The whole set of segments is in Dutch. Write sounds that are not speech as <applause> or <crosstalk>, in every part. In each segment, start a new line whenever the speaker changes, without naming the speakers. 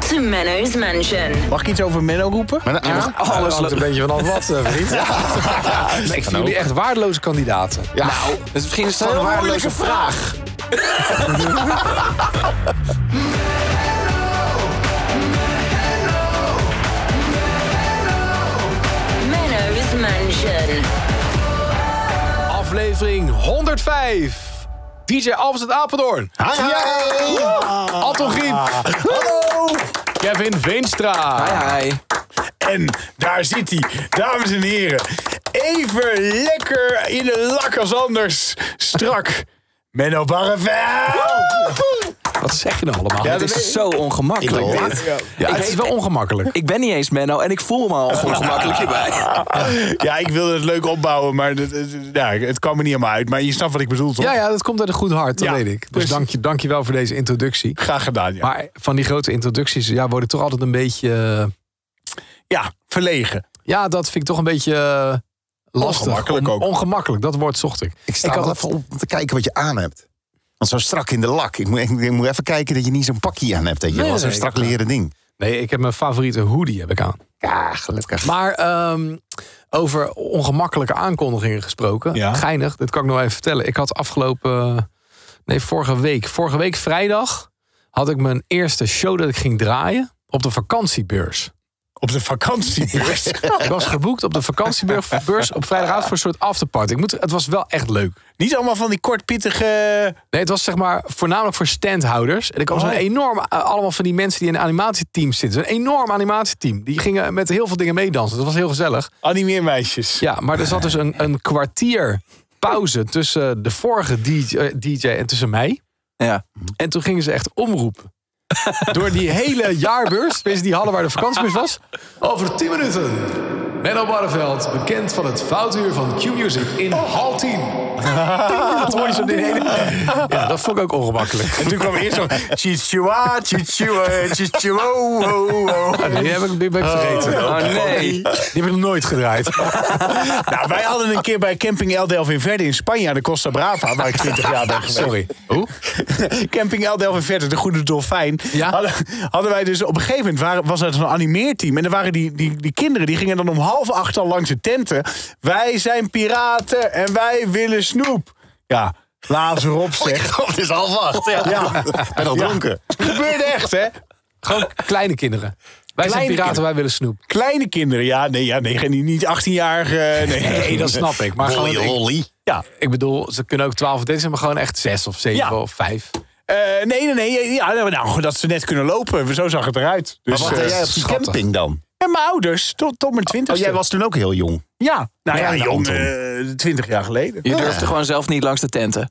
to Menno's Mansion.
Mag ik iets over Menno roepen?
Maar, nou, ja.
Alles hangt een beetje vanaf <laughs> wat, eh, vriend. Ik vind jullie echt waardeloze kandidaten.
Ja.
Dus misschien is het gewoon een waardeloze vraag.
Menno's Mansion.
Aflevering 105. DJ Alves uit Apeldoorn.
Hi, hi.
Anton Griep.
Hallo!
Kevin Veenstra.
En daar zit hij, dames en heren. Even lekker in de lak als anders. Strak. Menno
Oh.
Barrevel!
Wat zeg je nou allemaal?
Ja,
Het
dat
is
weet
zo ongemakkelijk.
ik.
dit.
Ja.
Ja, het is wel ongemakkelijk.
Ik ben niet eens Menno en ik voel me al ongemakkelijk hierbij.
Ja, ik wilde het leuk opbouwen, maar het, het- ja, het kwam er niet helemaal uit. Maar je snapt wat ik bedoel, toch?
Ja, ja, dat komt uit een goed hart, dat
Ja,
weet ik. Dus
precies.
dank je, dank je wel voor deze
<laughs>
introductie.
Graag gedaan, ja.
Maar van die grote introducties ja, word ik toch altijd een beetje... eh,
ja, verlegen.
Ja, dat vind ik toch een beetje eh, lastig.
Ongemakkelijk
On-
ook.
Ongemakkelijk, dat woord zocht ik.
Ik sta
Ik had
wel
het-
even op om te kijken wat je aan hebt. Want zo strak in de lak. Ik moet, ik, ik moet even kijken dat je niet zo'n pakje aan hebt. Dat je
Nee,
wel zo'n
nee,
strak
ik-
leren ding.
Nee, ik heb mijn favoriete hoodie heb ik aan.
Ja, gelukkig.
Maar ehm, over ongemakkelijke aankondigingen gesproken.
Ja.
Geinig, dat kan ik nog even vertellen. Ik had afgelopen... Nee, vorige week. Vorige week vrijdag had ik mijn eerste show dat ik ging draaien op de vakantiebeurs.
Op de
<laughs>
vakantiebeurs.
Ik was geboekt op de vakantiebeurs op vrijdagavond voor een soort afterparty. Ik moet, het was wel echt leuk.
Niet allemaal van die kortpittige...
Nee, het was zeg maar voornamelijk voor standhouders. En ik was
Oh.
een enorm, eh, allemaal van die mensen die in een animatieteam zitten. Een enorm animatieteam. Die gingen met heel veel dingen meedansen. Dat was heel gezellig.
animeermeisjes.
Ja, maar er zat dus een, een kwartier pauze tussen de vorige DJ, eh, DJ en tussen mij.
Ja.
En toen gingen ze echt omroepen. Door die hele jaarbeurs, tenminste die hadden waar de vakantiebeurs was. Over 10 minuten. Menno Barreveld, bekend van het foutuur van Q-Music in hal 10. Dat hoorde je zo die hele... Ja, dat vond ik ook ongemakkelijk.
En toen kwam
<laughs>
eerst zo'n... Chichua, chichua, chichua, oh, oh.
Ja, die, heb ik, die ben ik vergeten. Ah,
Oh nee.
Die heb ik nog nooit gedraaid.
Nou, wij hadden een keer bij Camping El Delvinverde in Spanje aan de Costa Brava, waar ik 20 jaar ben geweest.
Sorry. Hoe?
<laughs> Camping El Delvinverde, de Goede Dolfijn.
Ja.
Hadden, hadden wij dus op een gegeven moment waren, was het een animeerteam. En er waren die, die, die kinderen, die gingen dan om half acht al langs de tenten. Wij zijn piraten en wij willen snoep. Ja,
<laughs>
laat ze
Oh,
erop zeg.
Het is half acht. Ja.
Ja,
En al
Ja.
dronken.
het gebeurde echt hè.
Gewoon kleine kinderen. Wij zijn
Kleine
piraten,
kinderen.
wij willen snoep.
Kleine kinderen, ja, nee, ja, nee, geen- niet 18-jarige. Nee.
Nee, dat snap ik. Maar gewoon,
Holly,
ik,
holly.
Ja,
ik bedoel, ze kunnen ook 12 of 13 zijn, maar gewoon echt 6 of 7
Ja.
of 5.
Eh, nee, nee, nee, ja, nou, dat ze net kunnen lopen, zo zag het eruit. Dus,
Maar wat
eh,
had jij op die
schattig.
camping dan?
En mijn ouders, tot, tot mijn
Oh,
twintigste.
jij was toen ook heel jong.
Ja, nou ja,
Ja,
jong,
Anton.
eh, twintig jaar geleden. <laughs>
Je durfde gewoon zelf niet langs de tenten.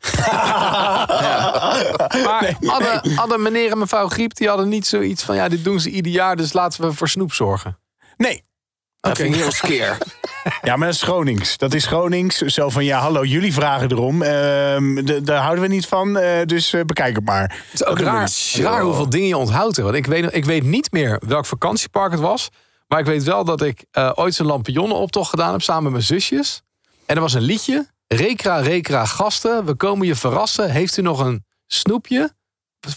Maar hadden, hadden meneer en mevrouw Griep, die hadden niet zoiets van... ja, dit doen ze ieder jaar, dus laten we voor snoep zorgen.
Nee.
Dat vind ik heel
<laughs>
skeer.
Ja, maar dat is Gronings. Dat is Gronings. Zo van, ja, hallo, jullie vragen erom. Ehm, d- daar houden we niet van, eh, dus eh, bekijk het maar.
Het is ook raar, raar hoeveel dingen je onthoudt. hè. Want ik weet, ik weet niet meer welk vakantiepark het was. Maar ik weet wel dat ik eh, ooit een lampionnenoptocht gedaan heb... samen met mijn zusjes. En er was een liedje. Rekra, rekra, gasten, we komen je verrassen. Heeft u nog een snoepje?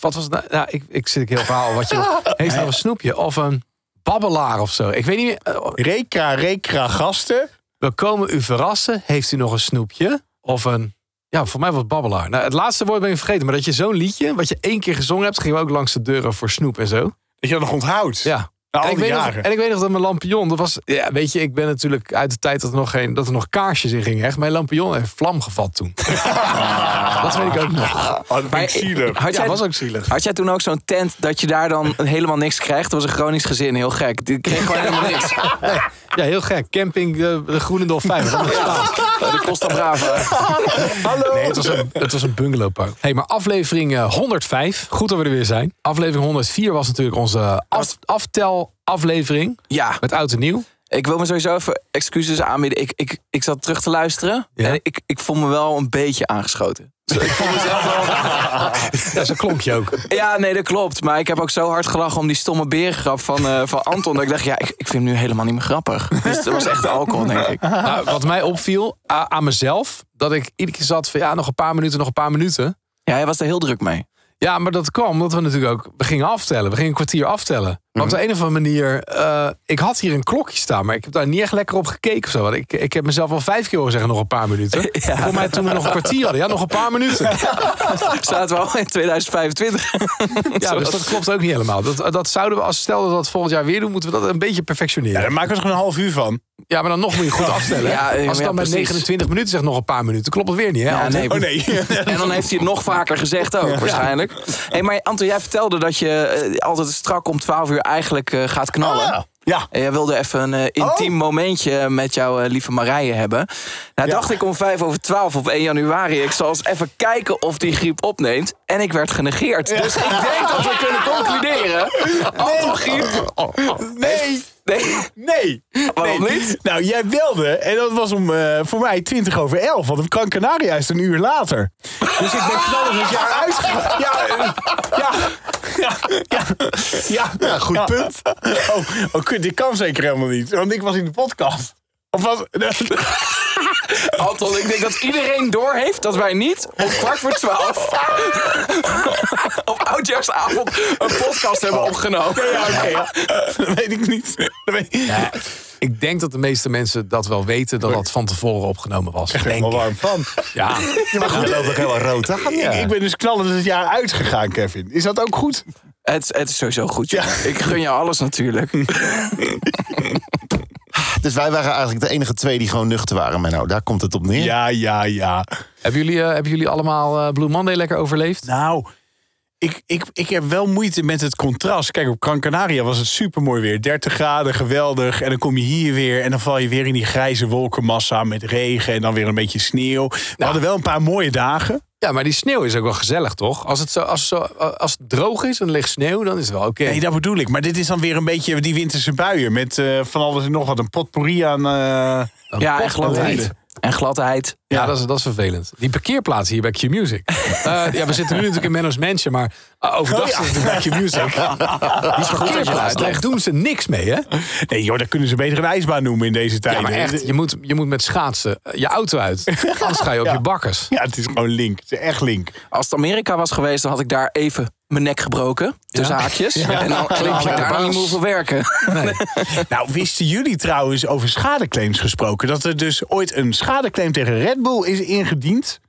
Wat was het nou? nou ik, ik zit ik heel verhaal. Wat je, heeft u nog een snoepje? Of een babbelaar of zo? Ik weet niet meer. eh,
Rekra, rekra, gasten.
We komen u verrassen. Heeft u nog een snoepje? Of een. Ja, voor mij was het babbelaar. Nou, het laatste woord ben ik vergeten. Maar dat je zo'n liedje, wat je één keer gezongen hebt, gingen we ook langs de deuren voor snoep en zo.
Dat je dat nog onthoudt.
Ja.
Na
En
al
ik,
die
weet nog,
jaren.
en ik weet nog dat mijn lampion, dat was. Ja, weet je, ik ben natuurlijk uit de tijd dat er nog, geen, dat er nog kaarsjes in gingen. Echt, mijn lampion heeft vlam gevat toen. <laughs> dat weet ik ook nog.
Oh, dat vind ik
Maar
zielig.
had
Ja,
jij,
was ook zielig.
had jij toen ook zo'n tent dat je daar dan helemaal niks krijgt? Dat was een Gronings gezin, heel gek. Die kreeg gewoon helemaal niks.
Ja, heel gek. Camping de, de Groene Dolfijn. Dat was staan.
De Costa Brava.
Hallo.
Nee, het was een, het was een bungalowpark. Hey, maar aflevering eh, 105. Goed dat we er weer zijn. Aflevering 104 was natuurlijk onze af, aftelaflevering.
Ja,
Met oud en nieuw.
Ik wil me sowieso even excuses aanbieden. Ik, ik, ik zat terug te luisteren
Ja.
en ik, ik voel me wel een beetje aangeschoten. Dus ik voel mezelf wel...
Ja, zo'n klompje ook.
Ja, nee, dat klopt. Maar ik heb ook zo hard gelachen om die stomme berengrap van, eh, van Anton. Dat ik dacht, ja, ik, ik vind hem nu helemaal niet meer grappig. Dus dat was echt de alcohol, denk ik.
Nou, wat mij opviel a- aan mezelf, dat ik iedere keer zat van ja, nog een paar minuten, nog een paar minuten.
Ja, hij was er heel druk mee.
Ja, maar dat kwam omdat we natuurlijk ook... We gingen aftellen. We gingen een kwartier aftellen. Maar
Mhm.
op de een of andere manier... eh, ik had hier een klokje staan, maar ik heb daar niet echt lekker op gekeken of zo. Want ik, ik heb mezelf al vijf keer horen zeggen, nog een paar
<laughs>
minuten. Voor mij toen we nog een kwartier hadden. Ja, nog een paar minuten.
Zaten we al in 2025.
Ja, dus dat klopt ook niet helemaal. Dat, dat zouden we, als stel dat we dat volgend jaar weer doen, moeten we dat een beetje
Ja,
perfectioneren.
daar
Ja,
maken we er gewoon een half uur van.
maar dan nog moet je goed aftellen.
Ja, ja,
als
ja,
het dan bij
precies.
29 minuten zegt nog een paar minuten, klopt het weer niet, hè?
Ja,
Anton?
nee.
Oh
<laughs>
nee.
En dan heeft hij het nog vaker gezegd ook, waarschijnlijk. Hey, maar Anton, jij vertelde dat je eh, altijd strak om 12 uur eigenlijk eh, gaat knallen.
Ah. Ja.
En jij wilde even een eh, intiem momentje met jouw eh, lieve Marije hebben. Nou, dacht ik om vijf over twaalf op 1 januari. Ik zal eens even kijken of die griep opneemt. En ik werd genegeerd. Dus ik denk dat we kunnen concluderen. Anton griep.
Nee.
Nee,
Nee.
waarom
Nee.
niet?
Nou, jij belde. En dat was om eh, voor mij 20 over 11. Want op Gran Canaria is het een uur later. Dus ik ben knallend het jaar uitgegaan. Ja, eh, ja, ja, ja, ja.
goed punt.
Oh, oh, kut, dit kan zeker helemaal niet. Want ik was in de podcast. Of was... <laughs>
Anton, ik denk dat iedereen doorheeft dat wij niet om kwart voor twaalf... op oudjaarsavond een podcast hebben opgenomen.
Ja, oké. ja. Dat weet ik niet. Dat weet ik
Ja, ik denk dat de meeste mensen dat wel weten, dat dat van tevoren opgenomen was. Denk
wel
ik.
warm van.
Ja.
Maar goed, loopt ook helemaal rood aan. Ja.
Ik, ik ben dus knallend het jaar uitgegaan, Kevin. Is dat ook goed?
Het, het is sowieso goed, joh. Ik gun jou alles natuurlijk.
Dus wij waren eigenlijk de enige twee die gewoon nuchter waren. Maar nou, daar komt het op neer.
Ja, ja, ja.
Hebben jullie, eh, hebben jullie allemaal eh, Blue Monday lekker overleefd?
Nou, ik, ik, ik heb wel moeite met het contrast. Kijk, op Gran Canaria was het supermooi weer. 30 graden, geweldig. En dan kom je hier weer en dan val je weer in die grijze wolkenmassa met regen en dan weer een beetje sneeuw. We
Nou.
hadden wel een paar mooie dagen.
Ja, maar die sneeuw is ook wel gezellig, toch? Als het, zo, als het, zo, als het droog is en er ligt sneeuw, dan is het wel oké.
Nee, dat bedoel ik. Maar dit is dan weer een beetje die winterse buien met eh, van alles en nog wat. Een potpourri aan... eh,
Dan
Ja,
kost
en
het
gladheid.
rijden.
En gladheid.
Ja, dat, is, dat is vervelend. Die parkeerplaats hier bij
<laughs>
Q-Music. Eh, ja, we zitten nu natuurlijk in Menno's Mansion, maar eh, overdag
Oh ja.
zitten we bij
<laughs>
Q-Music. Die parkeerplaats, daar doen ze niks mee, hè?
Nee joh, daar kunnen ze beter een ijsbaan noemen in deze tijd.
Ja, maar echt, je moet, je moet met schaatsen eh, je auto uit. Anders ga je op je bakkers.
Ja, het is gewoon link. Het is echt link.
Als het Amerika was geweest, dan had ik daar even mijn nek gebroken. Tussen haakjes. En dan had ik daar niet meer hoeven werken.
Nee.
Nou, wisten jullie trouwens over schadeclaims gesproken? Dat er dus ooit een schadeclaim tegen Red Bull is ingediend.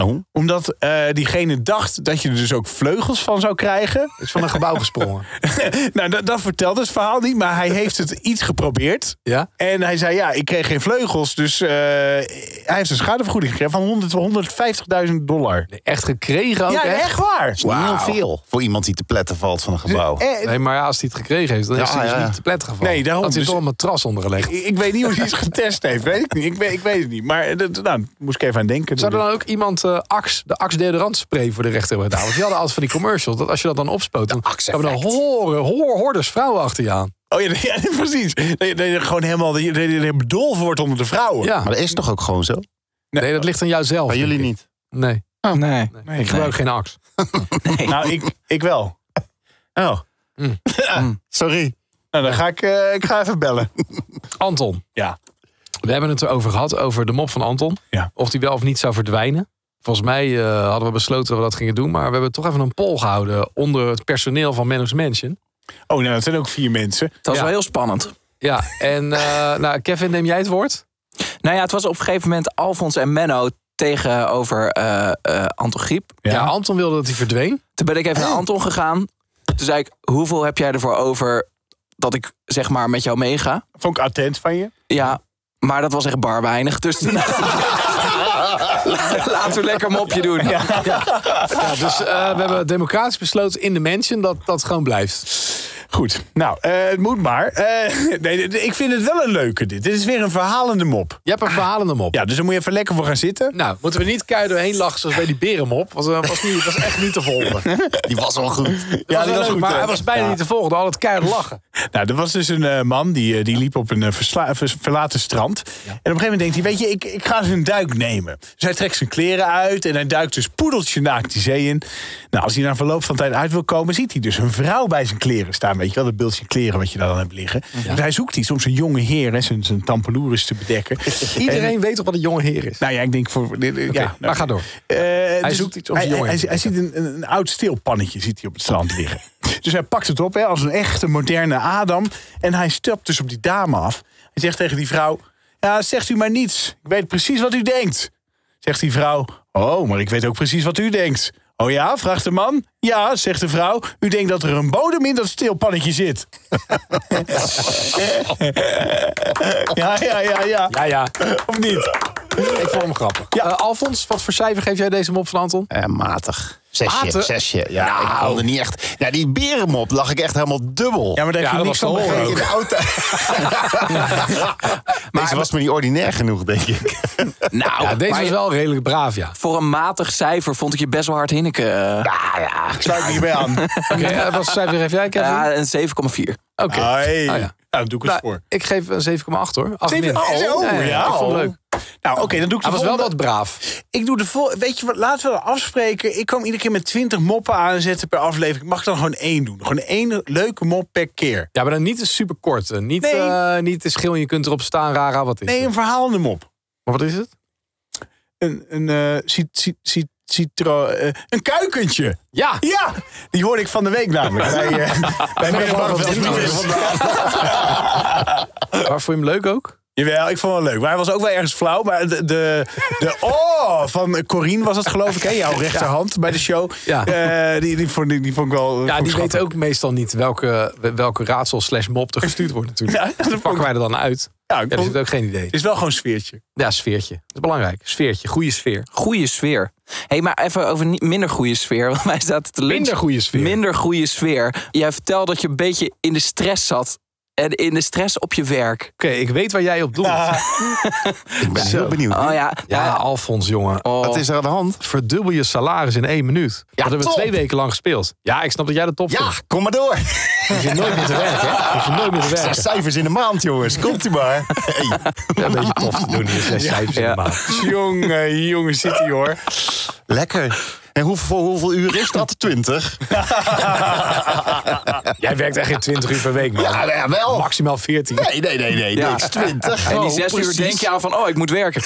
Oh.
Omdat eh, diegene dacht dat je er dus ook vleugels van zou krijgen. <laughs>
Is van een gebouw gesprongen.
nou, dat, dat vertelt het verhaal niet, maar hij heeft het iets geprobeerd.
Ja?
En hij zei, ja, ik kreeg geen vleugels. Dus eh, hij heeft een schadevergoeding gekregen van 100, 150.000 dollar.
Nee, echt gekregen ook,
ja,
hè?
echt waar.
Wauw. Voor iemand die te pletten valt van een gebouw.
Eh,
Nee, maar ja, als hij het gekregen heeft, dan is
Ja,
hij dus
ja.
niet te plet gevallen.
Nee, daarom
Had hij
dus-
toch een matras ondergelegd.
ik, ik weet niet hoe hij het getest heeft. Weet ik, niet. Ik, weet, ik weet het niet. Maar eh, dat- nou, moest ik even aan denken.
Zou er dan ook iemand eh Axe, de Axe deodorant spray voor de rechter hebben gedaan? Want die hadden altijd van die commercials, dat als je dat dan opspoot, dan hebben dan horen, hoor, hoorders vrouwen achter je aan.
Oh ja, <laughs> ja precies. Dat je, dat je gewoon helemaal dat je, dat je bedolven wordt onder de vrouwen.
Ja,
Maar dat is toch ook gewoon zo?
nee, dat ligt aan jouzelf.
Bij jullie
denk ik.
niet.
Nee,
Oh.
Nee.
ik gebruik geen Axe.
Nou, ik, ik wel. Oh.
Sorry.
Nou, dan ga ik, eh, ik ga even bellen.
Anton,
Ja.
we hebben het erover gehad, over de mop van Anton.
Ja.
Of die wel of niet zou verdwijnen. Volgens mij eh, hadden we besloten dat we dat gingen doen, maar we hebben toch even een poll gehouden onder het personeel van Menno's Mansion.
Oh, nou, dat zijn ook vier mensen.
Dat was
Ja.
wel heel spannend.
Ja, en eh, <laughs> nou, Kevin, neem jij het woord?
Nou ja, het was op een gegeven moment Alfons en Menno tegenover eh eh, Anton Griep.
Ja. Anton wilde dat hij verdween.
Toen ben ik even naar Anton gegaan. Toen zei ik, hoeveel heb jij ervoor over dat ik zeg maar met jou meega?
Vond ik attent van je.
Ja, maar dat was echt bar weinig. Dus toen- <laughs> laten we lekker een mopje doen.
Ja, dus eh, we hebben democratisch besloten in de mansion dat dat gewoon blijft.
Goed. Nou, eh, het moet maar. Eh, <laughs> nee, d- ik vind het wel een leuke dit. Dit is weer een verhalende mop.
Je hebt een verhalende mop.
Ja, dus daar moet je even lekker voor gaan zitten.
Nou, moeten we niet keihard doorheen lachen zoals bij die berenmop. Want dat was, niet, was echt niet te volgen. Ja,
<laughs> Die was wel goed.
Ja,
was leuk, maar hij was bijna niet te volgen. Al het keihard lachen.
Nou, er was dus een eh, man die, eh, die liep op een eh, versla- vers- verlaten strand. En op een gegeven moment denkt hij, weet je, ik, ik ga eens een duik nemen. Dus hij trekt zijn kleren uit en hij duikt dus poedeltje naakt die zee in. Nou, als hij na verloop van tijd uit wil komen, ziet hij dus een vrouw bij zijn kleren staan weet je wel, dat beeldje kleren wat je daar dan hebt liggen. Dus hij zoekt iets om zijn jonge heer, hè, zijn, zijn tampeloeris te bedekken. En-
Iedereen weet toch wat een jonge heer is?
nou ja, ik denk voor... dit- dit- ja,
Oké, maar ga door.
hij
zoekt iets om
hij,
zijn jongen
hij,
te
hij ziet een, een, een oud steelpannetje ziet hij op het strand liggen. <laughs> Dus hij pakt het op hè, als een echte moderne Adam. En hij stapt dus op die dame af. Hij zegt tegen die vrouw... Ja, zegt u maar niets. Ik weet precies wat u denkt. Zegt die vrouw... Oh, maar ik weet ook precies wat u denkt. Oh ja, vraagt de man. Ja, zegt de vrouw. U denkt dat er een bodem in dat
<laughs>
steelpannetje zit. ja, ja, ja, ja.
Ja, ja.
Of niet?
Ik vond hem grappig.
Ja.
Eh, Alfons, wat voor cijfer geef jij deze mop van Anton?
Eh, matig. Zesje,
Matig?
zesje. Ja, ik kon er niet echt... Ja, die berenmop lag ik echt helemaal dubbel.
Ja, maar daar heb
Ja,
je
dat
niks
was
van
te horen
begrepen.
ook.
in de auto. maar Deze was me niet ordinair genoeg, denk ik.
Nou,
Ja, deze
maar
was
je-
wel redelijk braaf, ja.
voor een matig cijfer vond ik je best wel hard hinniken. eh.
Ik sluit me hierbij aan.
Oké, eh, wat voor cijfer geef jij, Kevin?
Ja, een 7,4.
Oké.
Hoi.
Ah, ja.
Nou, dan doe ik het
Nou,
voor.
ik geef een 7,8 hoor. Acht min.
Oh,
Ja, ja, Ik vond
oh.
het leuk.
Nou, oké, dan doe ik
Hij
de
was wel
volgende.
wat braaf.
Ik doe de vol. Weet je wat? Laten we dat afspreken. Ik kwam iedere keer met 20 moppen aanzetten per aflevering. Mag ik dan gewoon één doen? Gewoon één leuke mop per keer.
Ja, maar dan niet super kort. Niet,
Nee.
eh, niet te schil, je kunt erop staan, rara, wat is
Nee,
het?
een verhalende mop.
Maar wat is het?
Een, een, eh, cit- cit- cit- citro, eh, een kuikentje.
Ja!
Ja, die hoorde ik van de week <laughs> namelijk. bij eh, bij Mary
gewoon
Barneveld.
wat dit nou Maar vond je hem leuk ook?
Jawel, ik vond het wel leuk. Maar hij was ook wel ergens flauw. Maar de, de,
<laughs>
de oh van Corine was het geloof ik, hè? jouw rechterhand bij de show.
Ja.
Eh, die, die, vond, die, die vond ik wel
Ja,
eh, vond ik
die
schattig.
weten ook meestal niet welke, welke raadsel slash mop er gestuurd wordt natuurlijk.
Ja, dat vond ik-
pakken wij er dan uit.
Ja, ik
Ja, dat
vond-
heeft ook geen idee.
Het is wel gewoon een sfeertje.
Ja, sfeertje. Dat is belangrijk. Sfeertje, goede sfeer.
Goede sfeer. Hé, hey, maar even over niet- minder goede sfeer. Want wij zaten te lunchen.
Minder goede sfeer.
Minder goede sfeer. Jij vertelde dat je een beetje in de stress zat. En in de stress op je werk.
Oké, ik weet waar jij op doelt.
Ik ben heel benieuwd.
Oh ja.
Ja, Alfons, jongen.
Oh.
Wat is er aan de hand?
Verdubbel je salaris in één minuut. dat hebben we
top.
twee weken lang gespeeld. Ja, ik snap dat jij de top
Ja,
vindt.
kom maar door.
Hoef je nooit meer te werken, hè? Hoef je nooit meer te
Zes
werken.
cijfers in de maand, jongens. Komt u maar. Hey.
Ja, een beetje tof te doen in zes cijfers in de
Ja.
maand.
Jongen, jongen zit hij hoor.
Lekker. En hoeveel, voor hoeveel uur is dat? 20?
Jij werkt echt geen 20 uur per week, man.
Ja, nou ja, wel.
Maximaal 14.
Nee, nee, nee, nee.
Ja.
Niks 20.
En die
Oh,
zes uur
precies.
denk je aan van, oh, ik moet werken.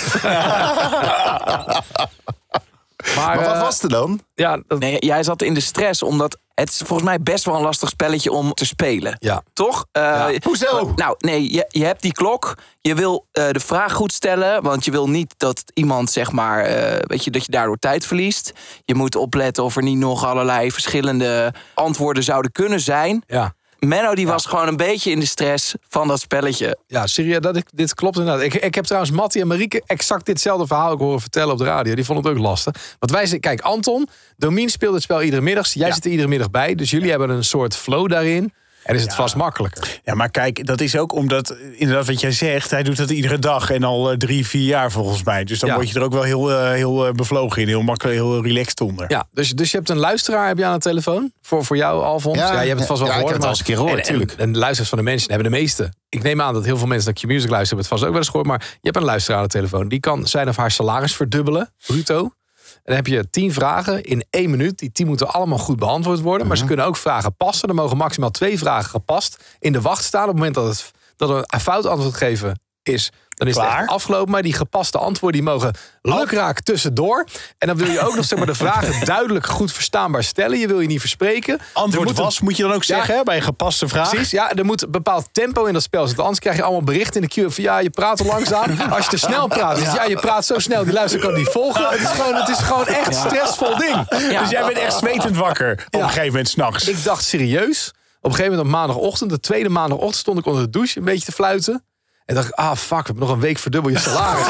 Maar,
Maar
eh,
wat was er dan?
ja, dat,
Nee, jij zat in de stress omdat het is volgens mij best wel een lastig spelletje om te spelen.
Ja.
Toch? Eh,
Hoezo?
Nou, nee, je, je hebt die klok. Je wil eh, de vraag goed stellen, want je wil niet dat iemand, zeg maar, eh, weet je, dat je daardoor tijd verliest. Je moet opletten of er niet nog allerlei verschillende antwoorden zouden kunnen zijn.
ja.
Menno, die was gewoon een beetje in de stress van dat spelletje.
Ja, serieus, dat, ik- dit klopt inderdaad. Ik, ik heb trouwens Mattie en Marieke exact ditzelfde verhaal ook horen vertellen op de radio. Die vonden het ook lastig. Want wij zitten, kijk, Anton, Domien speelt het spel iedere middag. Jij zit er iedere middag bij. Dus jullie hebben een soort flow daarin. En is het vast makkelijker.
Ja, maar kijk, dat is ook omdat, eh, inderdaad wat jij zegt, hij doet dat iedere dag en al eh, drie, vier jaar volgens mij. Dus dan
Ja.
word je er ook wel heel, eh, heel eh, bevlogen in, heel makkelijk, heel relaxed onder.
Ja, dus, dus je hebt een luisteraar heb je aan de telefoon. Voor, voor jou, Alfons. Ja,
Ja,
je hebt het vast wel
ja, ik
gehoord. maar-
heb het al eens een keer gehoord,
en,
tuurlijk.
En, en de luisteraars van de mensen hebben de meeste. Ik neem aan dat heel veel mensen dat je music luisteren hebben het vast ook wel eens gehoord. Maar je hebt een luisteraar aan de telefoon. Die kan zijn of haar salaris verdubbelen, bruto. En dan heb je tien vragen in één minuut. Die tien moeten allemaal goed beantwoord worden. Maar ze
Mhm.
kunnen ook vragen passen. Er mogen maximaal twee vragen gepast in de wacht staan. Op het moment dat, het, dat er een fout antwoord gegeven is, dan is het
Klaar. Oh.
echt afgelopen. Maar die gepaste antwoorden die mogen lukraak tussendoor. En dan wil je ook nog zeg maar, de
<laughs>
vragen duidelijk goed verstaanbaar stellen. Je wil je niet verspreken. Er
Antwoord
moet een-
was, moet je dan ook
Ja.
zeggen, hè, bij een gepaste vraag.
Precies, ja, er moet een bepaald tempo in dat spel zitten. Anders krijg je allemaal berichten in de queue van ja, je praat te <laughs> langzaam. Als je te snel praat, dus ja, je praat zo snel, die luisteraar kan niet volgen. Het is gewoon, het is gewoon echt een stressvol ding.
Ja.
<laughs> Dus jij bent echt zwetend wakker op een gegeven moment s'nachts.
Ik dacht serieus, op een gegeven moment op maandagochtend, de tweede maandagochtend, stond ik onder de douche een beetje te fluiten. En dacht ik, ah fuck, we hebben nog een week verdubbel <laughs> je salaris.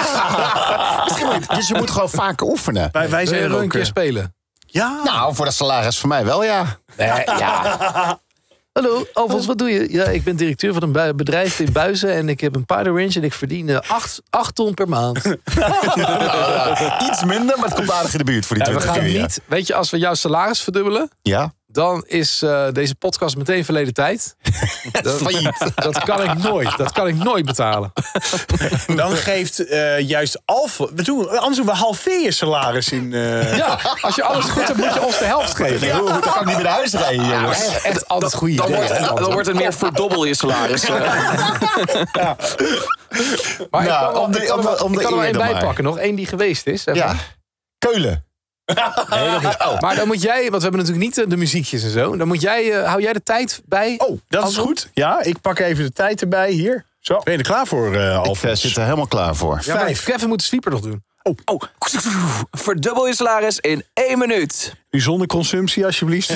Dus je moet gewoon vaker oefenen.
Wij, wij
Wil je
zijn er
nog een
ook...
keer
eh,
spelen?
Ja,
Nou, voor dat salaris voor mij wel, ja.
Eh, Hallo, Alfons, wat doe je? Ja, ik ben directeur van een bui- bedrijf in Buizen en ik heb een paardenrange en ik verdien 8 ton per maand.
Eh, Iets minder, maar het komt aardig in de buurt voor die
we
20
gaan
uur, ja.
niet, weet je, als we jouw salaris verdubbelen,
Ja?
dan is eh, deze podcast meteen verleden
<laughs>
tijd. dat, dat kan ik nooit. Dat kan ik nooit betalen.
Dan geeft eh, juist Alfa... We doen, anders doen we halveer je salaris in... eh,
Ja, als je alles goed hebt, moet je ons de helft geven.
Ja, dan kan ik niet meer naar huis rijden, jongens.
Echt, echt altijd goede
Dan
ideeën.
<laughs> wordt,
hè,
dan
Anton.
wordt het meer verdobbel je
<laughs>
salaris. eh.
Maar
Nou,
ik kan,
om de-
ik kan
om
er wel-
de- om
ik
de
kan er wel
eer
één
dan
bij
maar.
pakken. Nog één die geweest is. even.
Ja. oh. Keulen.
Maar dan moet jij, want we hebben natuurlijk niet eh, de muziekjes en zo. Dan moet jij, eh, hou jij de tijd bij?
Oh, dat is
Anton?
goed. Ja, ik pak even de tijd erbij hier. Zo. Ben je er klaar voor, eh
Ik eh,
Alfa?
zit er helemaal klaar voor.
Ja, maar
vijf.
Kevin moet de sweeper nog doen.
Oh, verdubbel je salaris in één minuut.
Nu zonder consumptie, alsjeblieft.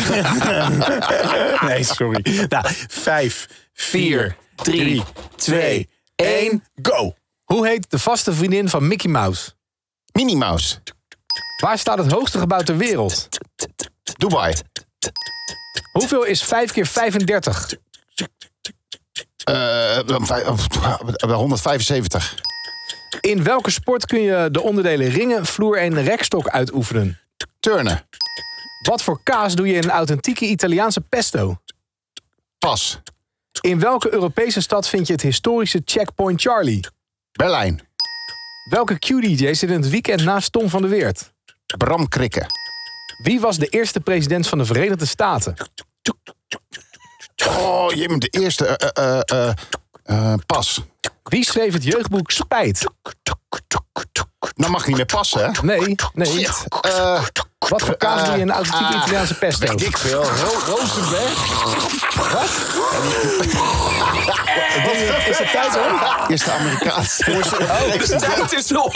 nee, sorry. Nou, vijf, vier,
drie,
drie, twee, één, go.
Hoe heet de vaste vriendin van Mickey Mouse?
Minnie Mouse.
Waar staat het hoogste gebouw ter wereld?
Dubai.
Hoeveel is 5 keer 35?
Eh, eh, vij- eh, 175.
In welke sport kun je de onderdelen ringen, vloer en rekstok uitoefenen?
Turnen.
Wat voor kaas doe je in een authentieke Italiaanse pesto?
Pas.
In welke Europese stad vind je het historische Checkpoint Charlie?
Berlijn.
Welke Q-DJ zit in het weekend naast Tom van der Weert?
Bram Krikke.
Wie was de eerste president van de Verenigde Staten?
Oh, je bent de eerste. eh, eh, eh, eh, eh, pas.
Wie schreef het jeugdboek Spijt?
Nou mag ik niet meer passen, hè?
Nee, nee.
Shit. Eh,
Wat voor kaas doe je in een authentieke
Ah,
Italiaanse pesto?
weet ik veel. Ro Rozenberg.
Is het tijd om?
Eerste Amerikaans.
<laughs> De tijd is om.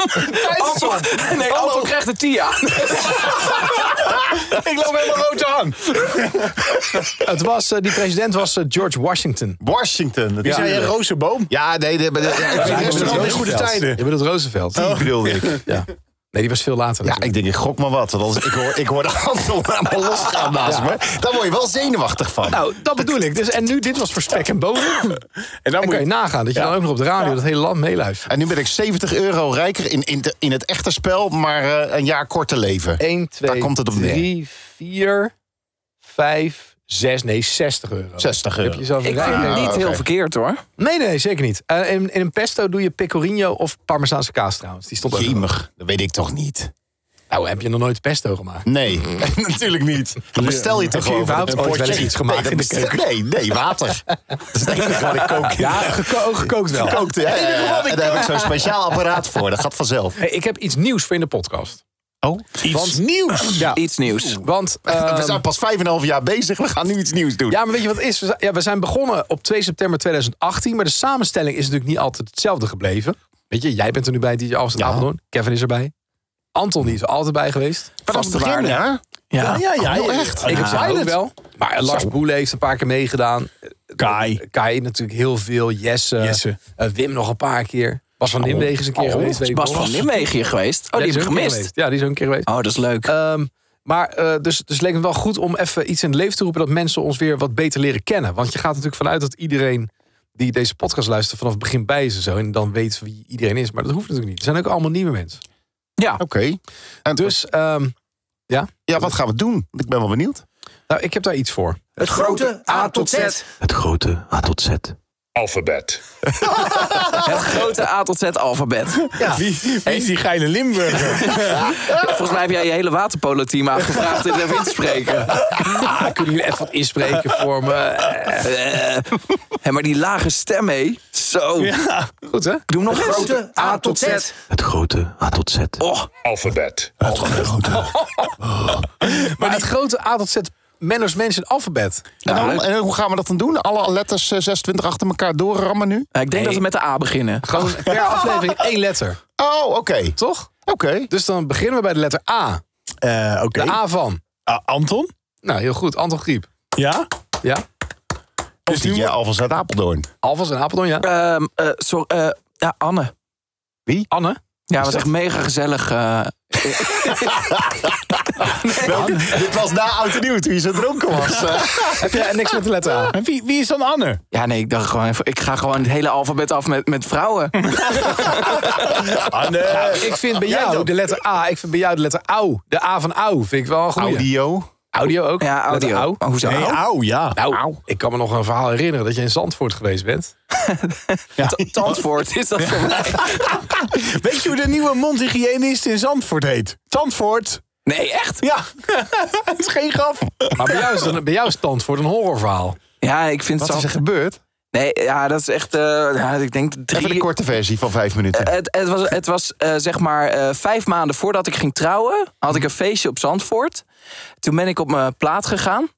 Anton, nee, Anton krijgt de <laughs> TIA.
Ik loop helemaal rood aan.
<laughs> Het was, eh, die president was eh, George Washington.
Washington.
Is
Ja,
hij een roze boom?
ja nee. De, de, de,
Ja, ik bedoel
de,
Roosevelt. goede tijden.
Je bedoelt Roosevelt.
die bedoelde ik.
Ja. Nee, die was veel later.
Oh. Ja, ik denk, ik gok maar wat. Want anders, ik, hoor, ik hoor de handel <laughs> allemaal losgaan naast me. Daar word je wel zenuwachtig van.
Nou, dat bedoel ik. Dus, en nu, dit was voor spek en bonen.
En dan
Dan
moet
kan je
je...
nagaan dat je dan ook nog op de radio dat hele land meeluistert.
En nu ben ik 70 euro rijker in, in, de- in het echte spel, maar eh, een jaar korter leven.
1, 2,
Daar komt het op neer.
3, 4, 5, 6, nee, 60 euro.
60
Heb je
euro.
jezelf een
Ik vind
rij-
het niet
oké.
heel verkeerd hoor.
Nee, nee, nee, zeker niet. Eh, in, in een pesto doe je pecorino of parmezaanse kaas trouwens. Die stond ook. nog.
Jemig, dat weet ik toch niet?
Nou, heb je nog nooit pesto gemaakt?
Nee, <laughs> natuurlijk niet. Dan bestel je
<laughs>
toch
Heb je
gewoon
überhaupt
een
ooit
potje?
wel eens iets gemaakt
nee,
in de
dat bestel- Nee, nee,
<laughs>
water. Dat is het enige wat ik kook.
Ja, geko- gekookt wel.
Gekookt, hè? Ja, en daar heb ik zo'n speciaal apparaat voor. Dat gaat vanzelf.
Hey, ik heb iets nieuws voor in de podcast.
Oh,
Iets nieuws.
<clears throat> Ja,
Iets nieuws.
<laughs>
want... ehm,
eh, we zijn pas 5,5 jaar bezig. We gaan nu iets nieuws doen.
ja, maar weet je wat het is? We zijn, ja, we zijn begonnen op 2 september 2018, maar de samenstelling is natuurlijk niet altijd hetzelfde gebleven. Weet je, jij bent er nu bij, DJ Alfred Apeldoorn. Kevin is erbij. Anton die is er altijd bij geweest. Ah,
Vaste waarde, hè?
Ah,
Ja.
ja, ja.
Oh,
ja.
echt?
Ik
Ik
heb
heb
pilot.
ook wel. Maar eh, Lars Boele heeft een paar keer meegedaan. Eh,
Kai.
Kai natuurlijk heel veel. Jesse.
Jesse. Oh.
Eh, Wim nog een paar keer. Bas van Nimwegen is een keer geweest. weet ik
Bas
nog.
van Nimwegen hier geweest. Oh,
Ja,
die
is
heb ik
ook een keer
gemist.
geweest. Ja, die is ook een keer geweest.
Oh, dat is leuk.
Ehm, maar eh, dus, dus leek het wel goed om even iets in het leven te roepen... dat mensen ons weer wat beter leren kennen. Want je gaat natuurlijk vanuit dat iedereen die deze podcast luistert... vanaf het begin bij is en zo. En dan weet wie iedereen is. Maar dat hoeft natuurlijk niet. Er zijn ook allemaal nieuwe mensen.
ja.
Oké. En Dus,
Dus ehm,
ja, wat gaan we doen? Ik ben wel benieuwd.
nou, ik heb daar iets voor.
Het grote A tot Z. Het grote A tot Z. Alfabet. Het grote A tot Z alfabet.
Wie, wie is die geile Limburger?
<laughs> Volgens mij heb jij je hele waterpolo-team aangevraagd dit even in te <laughs> spreken.
Ah, kunnen jullie even wat inspreken voor
<laughs>
me? Eh,
Eh, hè, maar die lage stem, hé. Zo.
Goed, hè?
Doe nog eens. Oh. grote A tot Z.
Het grote A tot Z.
Och,
Alphabet.
Maar het grote A tot Z Manners Mansion alfabet.
En, dan, en hoe gaan we dat dan doen? Alle letters eh, 26 achter elkaar doorrammen nu?
Eh, ik denk dat we met de A beginnen.
Gewoon per aflevering één letter,
Oh, oké.
toch?
Oké.
Dus dan beginnen we bij de letter A.
Eh, Oké.
De A van.
Ah, Anton?
Nou, heel goed. Anton Griep.
Ja?
Ja?
Dus die ja, Alvast uit Apeldoorn.
Alvas en Apeldoorn, ja?
Ehm eh, sorry, eh, ja, Anne.
Anne?
Ja, het was echt mega gezellig. eh,
Dit was na Oud en Nieuw, toen je zo dronken was.
Heb jij niks met de letter A?
En wie, wie is dan Anne?
ja, nee, ik dacht gewoon even, ik ga gewoon het hele alfabet af met, met <laughs> vrouwen.
Anne.
Nou, Ik vind bij
Ah, Jij
jou
dan?
de letter A. Ik vind bij jou de letter AU. De A van AU vind ik wel een goeie.
Audio.
Audio ook?
Ja,
Met een
audio.
au?
Maar hoezo?
Nee,
au?
auw, ja.
Nou, ik kan me nog een verhaal herinneren dat je in Zandvoort geweest bent.
Ta- Tandvoort is dat voor mij.
<laughs> Weet je hoe de nieuwe mondhygiënist in Zandvoort heet? Zandvoort.
<laughs> Nee, echt?
Ja, <laughs> het is geen grap.
Maar bij jou is, dan, bij jou is Zandvoort een horrorverhaal.
Ja, ik vind
Wat
het
is
zo...
er gebeurd?
Nee, ja, dat is echt... eh, ja, ik denk
Even de
drie...
korte versie van vijf minuten.
Het, het was, het was eh, zeg maar eh, vijf maanden voordat ik ging trouwen, had ik een feestje op Zandvoort. Toen ben ik op mijn plaat gegaan.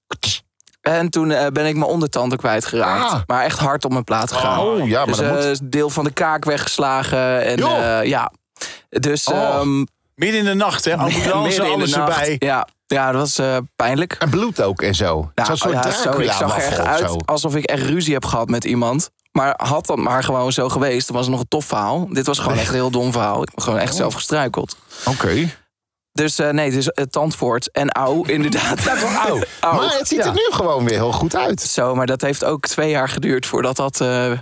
En toen eh, ben ik mijn ondertanden kwijtgeraakt.
Ah.
Maar echt hard op mijn plaat gegaan.
oh, ja, maar
dus
dat
eh,
moet.
is deel van de kaak weggeslagen. En,
Joh.
eh, ja. Dus
Oh.
ehm,
Midden in de nacht, hè? Ambulance,
<laughs> midden in de
alles
nacht.
erbij.
Ja, ja, dat was eh, pijnlijk.
en bloed ook en zo.
Ja,
Zo'n soort
ja, zo, ik zag er
Dracula-waffel
echt
of
uit
zo.
alsof ik echt ruzie heb gehad met iemand. Maar had dat maar gewoon zo geweest, dan was het nog een tof verhaal. Dit was gewoon echt een heel dom verhaal. Ik ben gewoon echt zelf gestruikeld.
Oké.
Dus eh, nee, dus eh, Tandvoort en Au, inderdaad. Dat was <laughs> Au.
Maar het ziet er nu gewoon weer heel goed uit.
Zo, maar dat heeft ook twee jaar geduurd voordat dat... eh,
Ja,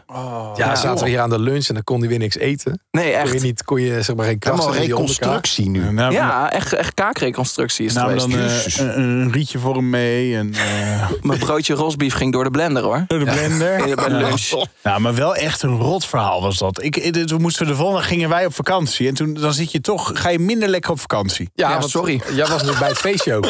dan zaten we hier aan de lunch en dan kon hij weer niks eten.
nee,
Kon je,
echt.
niet, kon je zeg maar geen krassen
Helemaal
in die onderkaak.
reconstructie nu.
Nou,
Ja, echt, echt kaakreconstructie is het
nou,
geweest.
dan eh, een, een rietje voor hem mee en eh,
Mijn broodje rosbief ging door de blender, hoor.
de blender.
Bij de lunch.
Nou, maar wel echt een rot verhaal was dat. Ik, eh, dit- toen moesten we de volgende gingen wij op vakantie. En toen dan zit je toch, ga je minder lekker op vakantie.
Ja,
Ja,
want
sorry.
Jij was nog bij het feestje ook.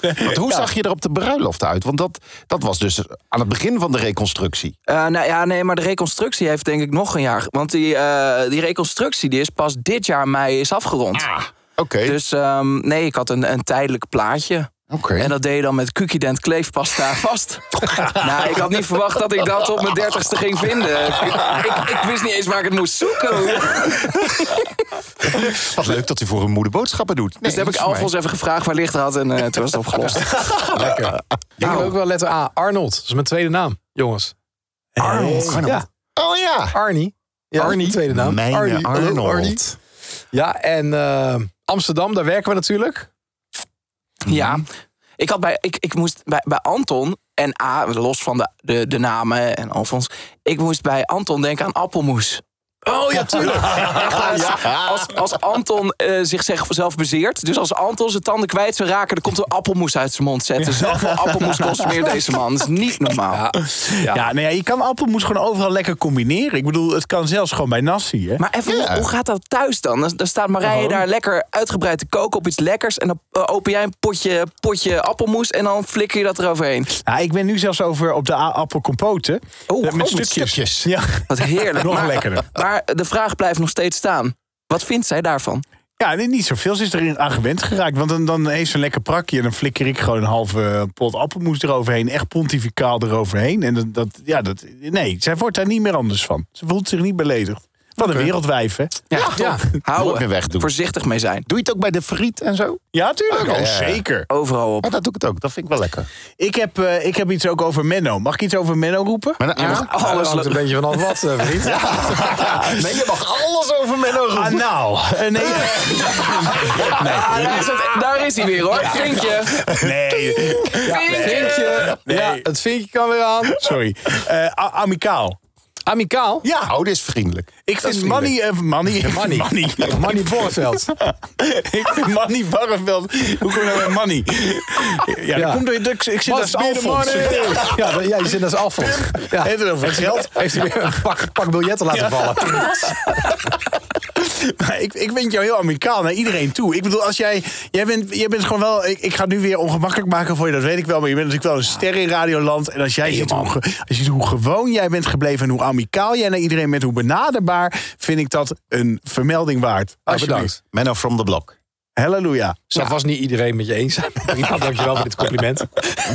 Want hoe zag je er op de bruiloft uit? Want dat, dat was dus aan het begin van de reconstructie.
Eh, nou ja, nee, maar de reconstructie heeft denk ik nog een jaar. Want die, eh, die reconstructie die is pas dit jaar mei is afgerond.
Oké.
Dus ehm, nee, ik had een, een tijdelijk plaatje.
Oké.
En dat deed je dan met Cukident kleefpasta <laughs> vast. nou, ik had niet verwacht dat ik dat op mijn dertigste ging vinden. Ik, ik wist niet eens waar ik het moest zoeken. Dus
Wat leuk dat u voor uw moeder boodschappen doet.
Dus toen heb ik Alfons even gevraagd waar licht had en eh, toen was het opgelost.
Lekker. Ik heb ook wel letter A. Arnold. Dat is mijn tweede naam, jongens.
Arnold.
Ja,
Oh ja.
Arnie. Ja, Arnie. Tweede naam.
Mijn
Arnie. Hallo,
Arnold.
Arnie. Ja, en eh, Amsterdam, daar werken we natuurlijk.
Ja,
Mhm.
ik, had bij, ik, ik moest bij, bij Anton en A, los van de, de, de namen en Alfons, ik moest bij Anton denken aan appelmoes.
Oh ja,
<laughs>
tuurlijk. <laughs>
Als, als Anton eh, zichzelf bezeert, dus als Anton zijn tanden kwijt zou raken, dan komt er appelmoes uit zijn mond zetten. Zoveel appelmoes consumeert deze man. Dat is niet normaal.
Ja, nou ja, je kan appelmoes gewoon overal lekker combineren. Ik bedoel, het kan zelfs gewoon bij Nassi, hè?
Maar even,
Ja.
hoe, hoe gaat dat thuis dan? Dan, dan staat Marije
Oh.
daar lekker uitgebreid te koken op iets lekkers. En dan eh, open jij een potje, potje appelmoes en dan flikker je dat eroverheen.
Nou, ik ben nu zelfs over op de a- appelcompote.
Oh,
Eh,
oh, met
stukjes.
Ja. <laughs>
Wat heerlijk.
Nog
maar,
lekkerder.
maar de vraag blijft nog steeds staan. Wat vindt zij daarvan?
Ja, nee, niet zoveel. Ze is erin aan gewend geraakt. Want dan, dan heeft ze een lekker prakje. En dan flikker ik gewoon een halve pot appelmoes eroverheen. Echt pontificaal eroverheen. En dat, dat, ja, dat, nee, zij wordt daar niet meer anders van. Ze voelt zich niet beledigd. Wat een wereldwijf, hè?
Ja,
ja.
Nooit meer
Houden.
wegdoen.
Voorzichtig mee zijn.
Doe je het ook bij de friet en zo?
Ja, tuurlijk.
Oké,
oh,
ja, ja.
zeker.
Overal op.
Oh, dat doe ik het ook. Dat vind ik wel lekker.
Ik heb, eh, ik heb iets ook over Menno. Mag ik iets over Menno roepen?
Maar dan-
Ja, alles
hangt een
leuk.
beetje van af wat, eh, vriend. <laughs>
Nee, je mag alles over Menno
Ah,
roepen.
nou. Eh, nee. <laughs>
Ah, daar, is het- daar is hij weer hoor. Vinkje.
nee.
Eh, Vinkje.
Nee.
Ja, het vinkje kan weer aan.
Sorry. Eh, a- amicaal.
Amicaal.
Ja,
Oh, dit is vriendelijk.
ik
is
vind Manny... eh, Manny.
<laughs> Manny. Manny Borreveld.
<laughs> ik vind Manny Barreveld. Hoe kom je nou bij Manny? Ja,
Ja.
dat komt door... dat Ik, ik zit als
Must be the
Alfons.
money. Ja, maar- ja, je zit als Alfons. Ja.
Heeft het over geld?
Heeft hij weer een pak, pak biljetten laten vallen.
Maar ik, ik vind jou heel amicaal naar iedereen toe. Ik bedoel, als jij. Jij bent, jij bent gewoon wel. Ik, ik ga het nu weer ongemakkelijk maken voor je, dat weet ik wel. Maar je bent natuurlijk wel een ster in Radioland. En als jij ziet hoe, ge- als je ziet hoe gewoon jij bent gebleven. en hoe amicaal jij naar iedereen bent. hoe benaderbaar. vind ik dat een vermelding waard. Alsjeblieft.
Ah, bedankt.
Menno from the block.
Halleluja.
Zal vast niet iedereen met je eens <laughs> zijn. Prima, dankjewel voor dit compliment.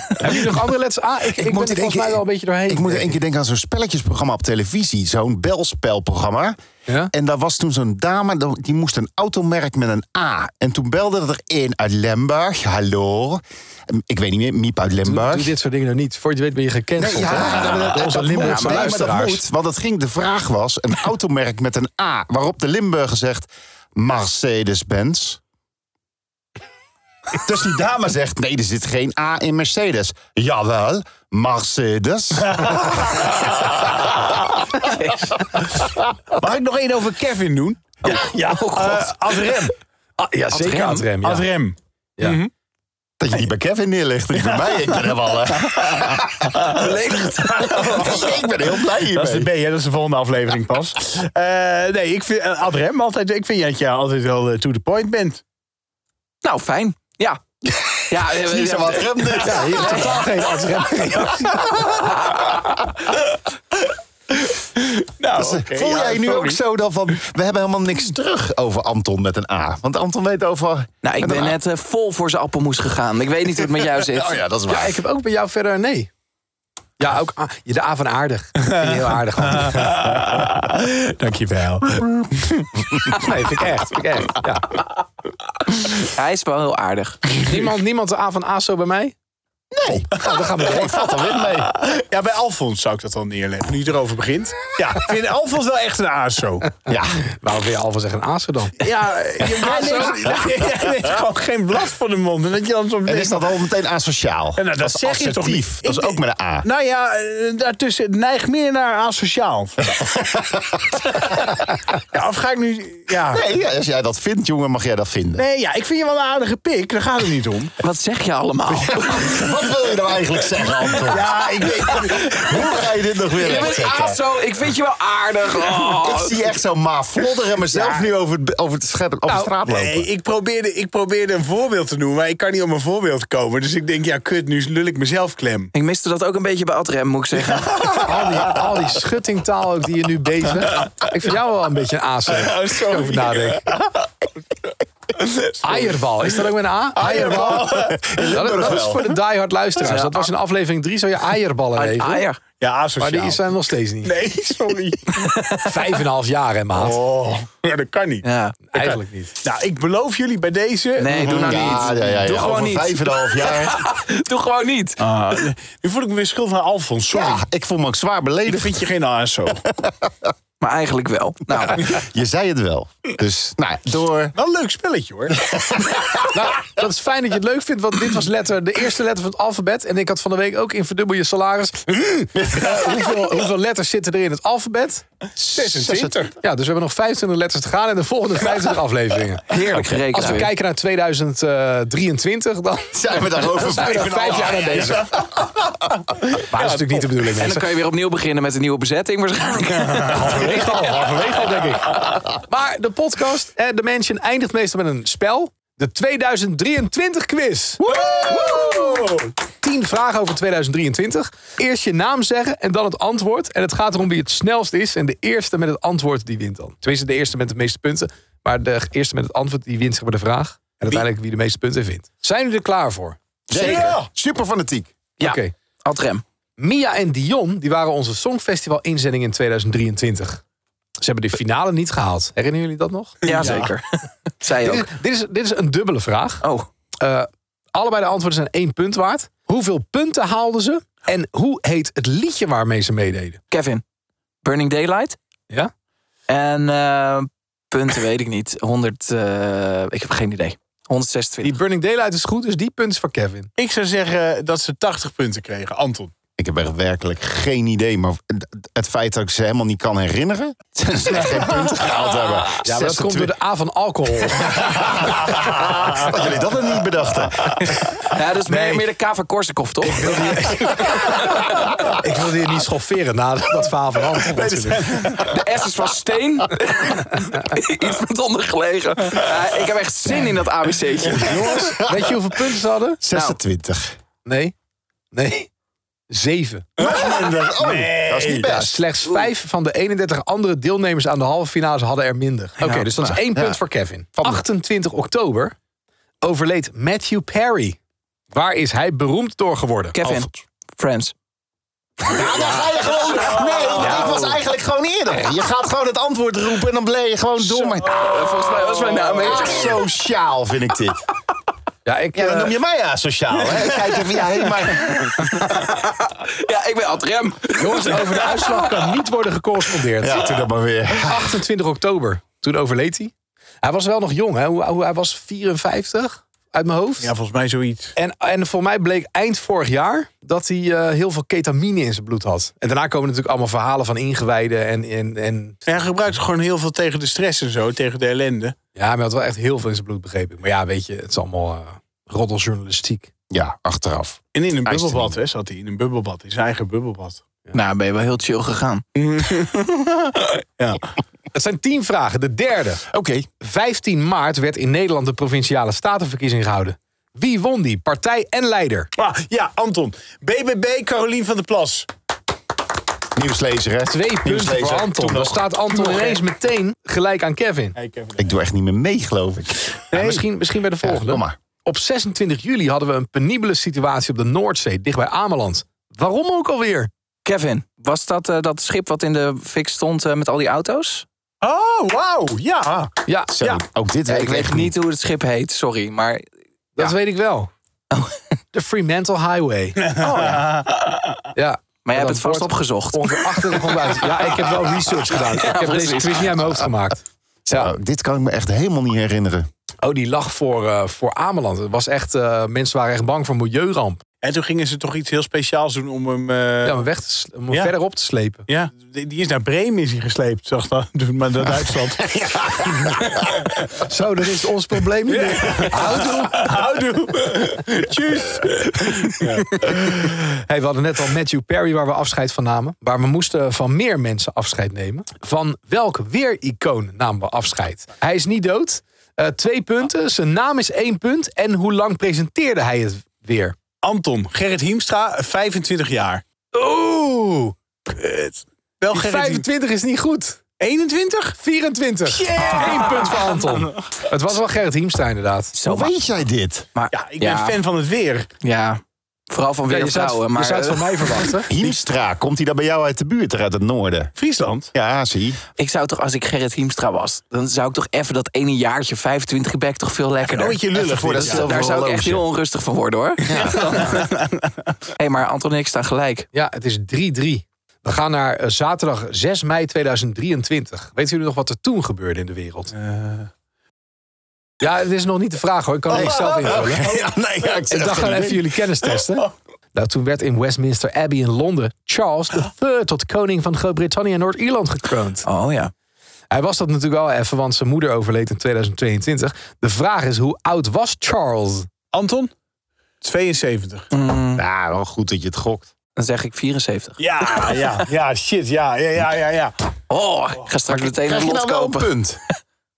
Heb je nog andere letters? Ah, ik, ik,
moet
ben er
in één
volgens mij
keer-
wel een beetje doorheen.
Ik moet één keer denken aan zo'n spelletjesprogramma op televisie. Zo'n belspelprogramma.
Ja?
En daar was toen zo'n dame, die moest een automerk met een A. En toen belde er één uit Limburg. Hallo. Ehm, Ik weet niet meer, Miep uit
Doe,
Limburg.
doe dit soort dingen nou niet. Voor je het weet ben je gecanceld.
Nee, ja,
hè?
dat- dat-
Door onze
dat moet.
Limburgse
Nee, maar dat
luisteraars.
moet, want het ging, de vraag was, een automerk met een A... waarop de Limburger zegt Mercedes-Benz. Dus die dame zegt, nee, er zit geen A in Mercedes. Jawel, Mercedes.
Mag ik nog één over Kevin doen?
Oh,
Ja, ja. Eh, Ad Rem.
<laughs>
Ah, ja,
Ad Rem.
zeker aan het rem. Ja.
Ad Rem.
Ja.
Mhm.
Dat je niet bij Kevin neerlegt. Dat je bij mij. Ik ben <laughs> helemaal. eh,
Beledigd.
ik ben heel blij hiermee.
Dat is de B, hè? dat is de volgende
<laughs>
aflevering pas. Eh, nee, ik vind, eh, ad rem altijd, ik vind dat je altijd wel eh, to the point bent.
Nou, fijn. Ja. <laughs> Ja,
Het is niet zo wat rem dit.
Ja, hier totaal geen ad rem
<laughs>
reactie. nou, oké,
Voel
ja,
jij nu
sorry.
ook zo dan van... We hebben helemaal niks terug over Anton met een A. Want Anton weet over...
Nou,
met
ik
een
ben
A.
net eh, vol voor zijn appelmoes gegaan. Ik weet niet hoe het met jou zit.
Oh ja, dat is waar.
Ja, ik heb ook bij jou verder een nee. Ja, ook ah, je de A van aardig. Vind je heel aardig. <laughs> man.
<laughs> Dankjewel.
Nee, vind ik echt. Vind ik echt. Ja.
Hij is wel heel aardig.
Niemand, niemand de A van ASO bij mij?
Nee.
Nou, dan gaan we
Ik vat er weer mee.
Ja, bij Alfons zou ik dat dan neerleggen, nu je erover begint. Ja, ik vind Alfons wel echt een ASO.
Ja,
Waarom wil je al van zeggen ASO dan?
Ja, eh, je <laughs> neemt, jij neemt gewoon geen blad van de mond. En dat je dan soms
en
denkt-
is dat al meteen asociaal?
Ja, nou, dat
is
zeg je toch niet?
assertief.
Ik
Dat is ook
denk-
met een A.
Nou ja, eh, daartussen het neigt meer naar
<laughs>
asociaal. ja, of ga ik nu... Ja.
Nee, ja, als jij dat vindt, jongen, mag jij dat vinden.
Nee, ja, ik vind je wel een aardige pik. Daar gaat het niet om.
Wat zeg je allemaal?
Wat wil je nou eigenlijk zeggen, Anton?
Ja, ik weet
Hoe <laughs> ga je dit nog weer
Ik ben
rechtzetten?
ASO, ik vind je wel aardig. Oh.
Ik zie echt zo ma flodderen mezelf
Ja. Nou,
nu over, het- over, het schep, over de straat lopen.
Nee, ik probeerde, ik probeerde een voorbeeld te noemen, maar ik kan niet om een voorbeeld komen. Dus ik denk, ja, kut, nu lul ik mezelf klem.
Ik miste dat ook een beetje bij Adrem, moet ik zeggen.
Al die, al die schuttingtaal ook die je nu bezig. Ik vind jou wel een beetje een ASO.
Oh, sorry.
Over nadenken. Eierbal, is dat ook met een A? Eierbal. Dat, dat is voor de diehard luisteraars. Dat was in aflevering 3, zou je eierballen
Uit
leven.
Aier.
<laughs> Ja,
Maar
asociaal.
die zijn nog steeds niet.
Nee,
<laughs>
sorry.
Vijf en een half jaar, hè, maat?
Oh, ja, dat kan niet.
Ja.
Eigenlijk niet.
Nou, ik beloof jullie bij deze...
Nee, doe nou niet.
ja, ja, ja.
Doe
Over
gewoon niet.
vijf en een
<laughs>
half jaar.
<laughs> Doe gewoon niet.
Oh.
Ah, nu voel ik me weer schuldig aan Alfons, sorry.
Ja, ik voel me ook zwaar
Ik
beledigd.
vind je geen ASO.
Maar eigenlijk wel. Nou,
<laughs> Je zei het wel. Dus, nou, ja, door.
Wel een leuk spelletje, hoor.
Nou, dat is fijn dat je het leuk vindt, want dit was letter, de eerste letter van het alfabet. En ik had van de week ook in Verdubbel je salaris. eh, hoeveel, hoeveel letters zitten er in het alfabet?
26.
Ja, dus we hebben nog 25 letters te gaan en de volgende 25 afleveringen.
heerlijk gerekend.
Als we
weer.
kijken naar 2023, dan
<laughs> Zijn we daar over
zijn we er
vijf en een half
vijf jaar aan bezig. Maar dat is natuurlijk niet de bedoeling.
En dan
mensen.
kan je weer opnieuw beginnen met een nieuwe bezetting waarschijnlijk.
Halverwege al, halverwege al denk ik. Maar de podcast, eh, de Mansion, eindigt meestal met een spel. De 2023 quiz.
Oh.
Woe!
10 vragen over 2023. Eerst je naam zeggen en dan het antwoord. En het gaat erom wie het snelst is. En de eerste met het antwoord die wint dan. Tenminste, de eerste met de meeste punten. Maar de eerste met het antwoord die wint zeg maar de vraag. En uiteindelijk wie de meeste punten wint. Zijn jullie er klaar voor?
Zeker. Super fanatiek.
Ja,
Oké.
<laughs> Adrem.
Mia en Dion die waren onze Songfestival-inzending in 2023. Ze hebben de finale niet gehaald. Herinneren jullie dat nog?
Jazeker. <laughs> Zij
Dit is,
ook.
dit, is, dit is een dubbele vraag.
Oh,
Eh, allebei de antwoorden zijn één punt waard. Hoeveel punten haalden ze? En hoe heet het liedje waarmee ze meededen?
Kevin. Burning Daylight.
Ja?
En eh, punten weet ik niet. 100, eh, ik heb geen idee. 126.
Die Burning Daylight is goed, dus die punt is voor Kevin.
Ik zou zeggen dat ze 80 punten kregen, Anton.
Ik heb echt werkelijk geen idee, maar het feit dat ik ze helemaal niet kan herinneren. <laughs> Dat ze echt geen punten gehaald hebben.
Ja, maar dat komt door de A van alcohol.
Dat jullie dat nog niet bedachten. <laughs> Nou.
Ja, dat is meer, meer de K van Korsakoff, toch?
<laughs> Ik wilde je niet schofferen na dat verhaal van alcohol.
De S is van steen. <laughs> Iets met ondergelegen. Eh, ik heb echt zin in dat ABC'tje.
Jongens, weet je hoeveel punten ze hadden?
26.
Nee. Nee. Zeven.
Oh, dat is niet
Ja,
best.
slechts vijf van de 31 andere deelnemers aan de halve finales hadden er minder. Oké, dus dat is
nou,
één punt voor Kevin. 28 oktober overleed Matthew Perry. Waar is hij beroemd door geworden?
Kevin. Friends.
Ja, dan ga je gewoon. Nee, want ik was eigenlijk gewoon eerder. Je gaat gewoon het antwoord roepen en dan bleef je gewoon door. Maar
Eh, volgens mij was mijn naam.
Echt sociaal vind ik dit.
Ja, ik,
Ja, dan
eh,
noem je mij asociaal. Hè? Ik <laughs> Kijk even, ja, hé, maar.
Ja, ik ben Adrem.
jongens, over de uitslag kan niet worden gecorrespondeerd.
Ja, doe dat maar weer.
28 oktober, toen overleed hij. Hij was wel nog jong, hè? Hoe, hoe- hij was 54 uit mijn hoofd.
Ja, volgens mij zoiets.
En, en voor mij bleek eind vorig jaar dat hij eh, heel veel ketamine in zijn bloed had. En daarna komen natuurlijk allemaal verhalen van ingewijden en, en, en
Hij gebruikt gewoon heel veel tegen de stress en zo, tegen de ellende.
Ja, maar hij had wel echt heel veel in zijn bloed, begreep ik. Maar ja, weet je, het is allemaal... eh, roddeljournalistiek.
Ja, achteraf.
En in een
Hij is
bubbelbad
te
hè, zat hij. In een bubbelbad. In zijn eigen bubbelbad.
Nou, ben je wel heel chill gegaan.
Het zijn tien vragen. De derde.
Oké.
15 maart werd in Nederland de provinciale statenverkiezing gehouden. Wie won die? Partij en leider.
<laughs> Ah, ja, Anton. BBB Carolien van der Plas.
Nieuwslezer, hè?
Twee punten
Nieuwslezer.
voor Anton.
Toen
Dan
nog.
staat Anton ineens meteen gelijk aan Kevin.
Hey, Kevin.
Ik doe echt niet meer mee, geloof ik. Eh,
Ja, misschien, misschien bij de volgende.
kom maar.
Op 26 juli hadden we een penibele situatie op de Noordzee, dichtbij Ameland. Waarom ook alweer?
Kevin, was dat eh, dat schip wat in de fik stond eh, met al die auto's?
Oh, wauw. Ja.
Ja,
Zo,
Ja.
ook dit
Ja,
weet
ik weet
echt
niet hoe het schip heet, sorry. Maar
dat weet ik wel.
Oh.
<laughs> De Fremantle
<laughs>
Highway. Oh, ja. ja.
Maar jij
Dat
hebt het vast
wordt-
opgezocht.
Ongeveer achter de grond
<laughs>
uit. Ja, ik heb wel research gedaan. ik heb
precies.
deze quiz niet uit mijn hoofd gemaakt. Ja.
Oh, dit kan ik me echt helemaal niet herinneren.
Oh, die lag voor, eh, voor Ameland. Het was echt, eh, mensen waren echt bang voor milieuramp.
En toen gingen ze toch iets heel speciaals doen om hem... eh,
Ja,
ja,
om, weg te sle- om hem
Ja.
verder op te slepen.
die die is naar Bremen is hij gesleept, zag dat. <laughs> Doe maar naar Duitsland.
Zo, dat is ons probleem niet meer.
Houdoe. Houdoe. <laughs> Tjus.
Hey, we hadden net al Matthew Perry waar we afscheid van namen. Maar we moesten van meer mensen afscheid nemen. Van welk weer-icoon namen we afscheid? Hij is niet dood. Eh, twee punten. Zijn naam is één punt. En hoe lang presenteerde hij het weer?
Anton, Gerrit Hiemstra, 25 jaar.
Oeh,
Kut. Wel
die
Gerrit Hiemstra.
25 is niet goed.
21?
24. Eén punt voor
<laughs>
Anton. Het was wel Gerrit Hiemstra inderdaad.
Zo,
Hoe
maar,
weet jij dit?
maar-
Ja, ik ben
ja,
fan van het weer.
Ja, vooral van weer
Ja, je zou het,
vrouwen.
je
Maar
zou het
eh,
van mij verwachten.
Hiemstra, komt hij dan bij jou uit de buurt, uit het noorden?
Friesland.
Ja, zie.
ik zou toch, als ik Gerrit Hiemstra was... dan zou ik toch even dat ene jaartje 25 back toch veel lekkerder...
Nooit je lullig.
voor
dit.
dat
Ja.
zelf-
Daar zou ik echt
horloge.
heel onrustig van worden, hoor. Hé, <laughs> hey, maar Anton en ik staan gelijk.
Ja, het is 3-3. We gaan naar eh, zaterdag 6 mei 2023. Weet jullie nog wat er toen gebeurde in de wereld? Ja, het is nog niet de vraag hoor. Ik kan het echt zelf invullen.
<laughs>
Ja, nee, ja, ik
Ik
zeg
dacht
het
gewoon
niet.
even jullie kennis
Oh.
testen. Nou, toen werd in Westminster Abbey in Londen Charles III tot koning van Groot-Brittannië en Noord-Ierland gekroond.
Oh ja.
Hij was dat natuurlijk wel even, want zijn moeder overleed in 2022. De vraag is, hoe oud was Charles?
Anton? 72.
Ja, wel goed dat je het gokt.
Dan zeg ik 74.
Ja, ja, ja, shit, ja, ja, ja, ja. ja.
Oh, ik ga straks meteen
Krijg
een
je
lot
nou wel een
kopen.
punt?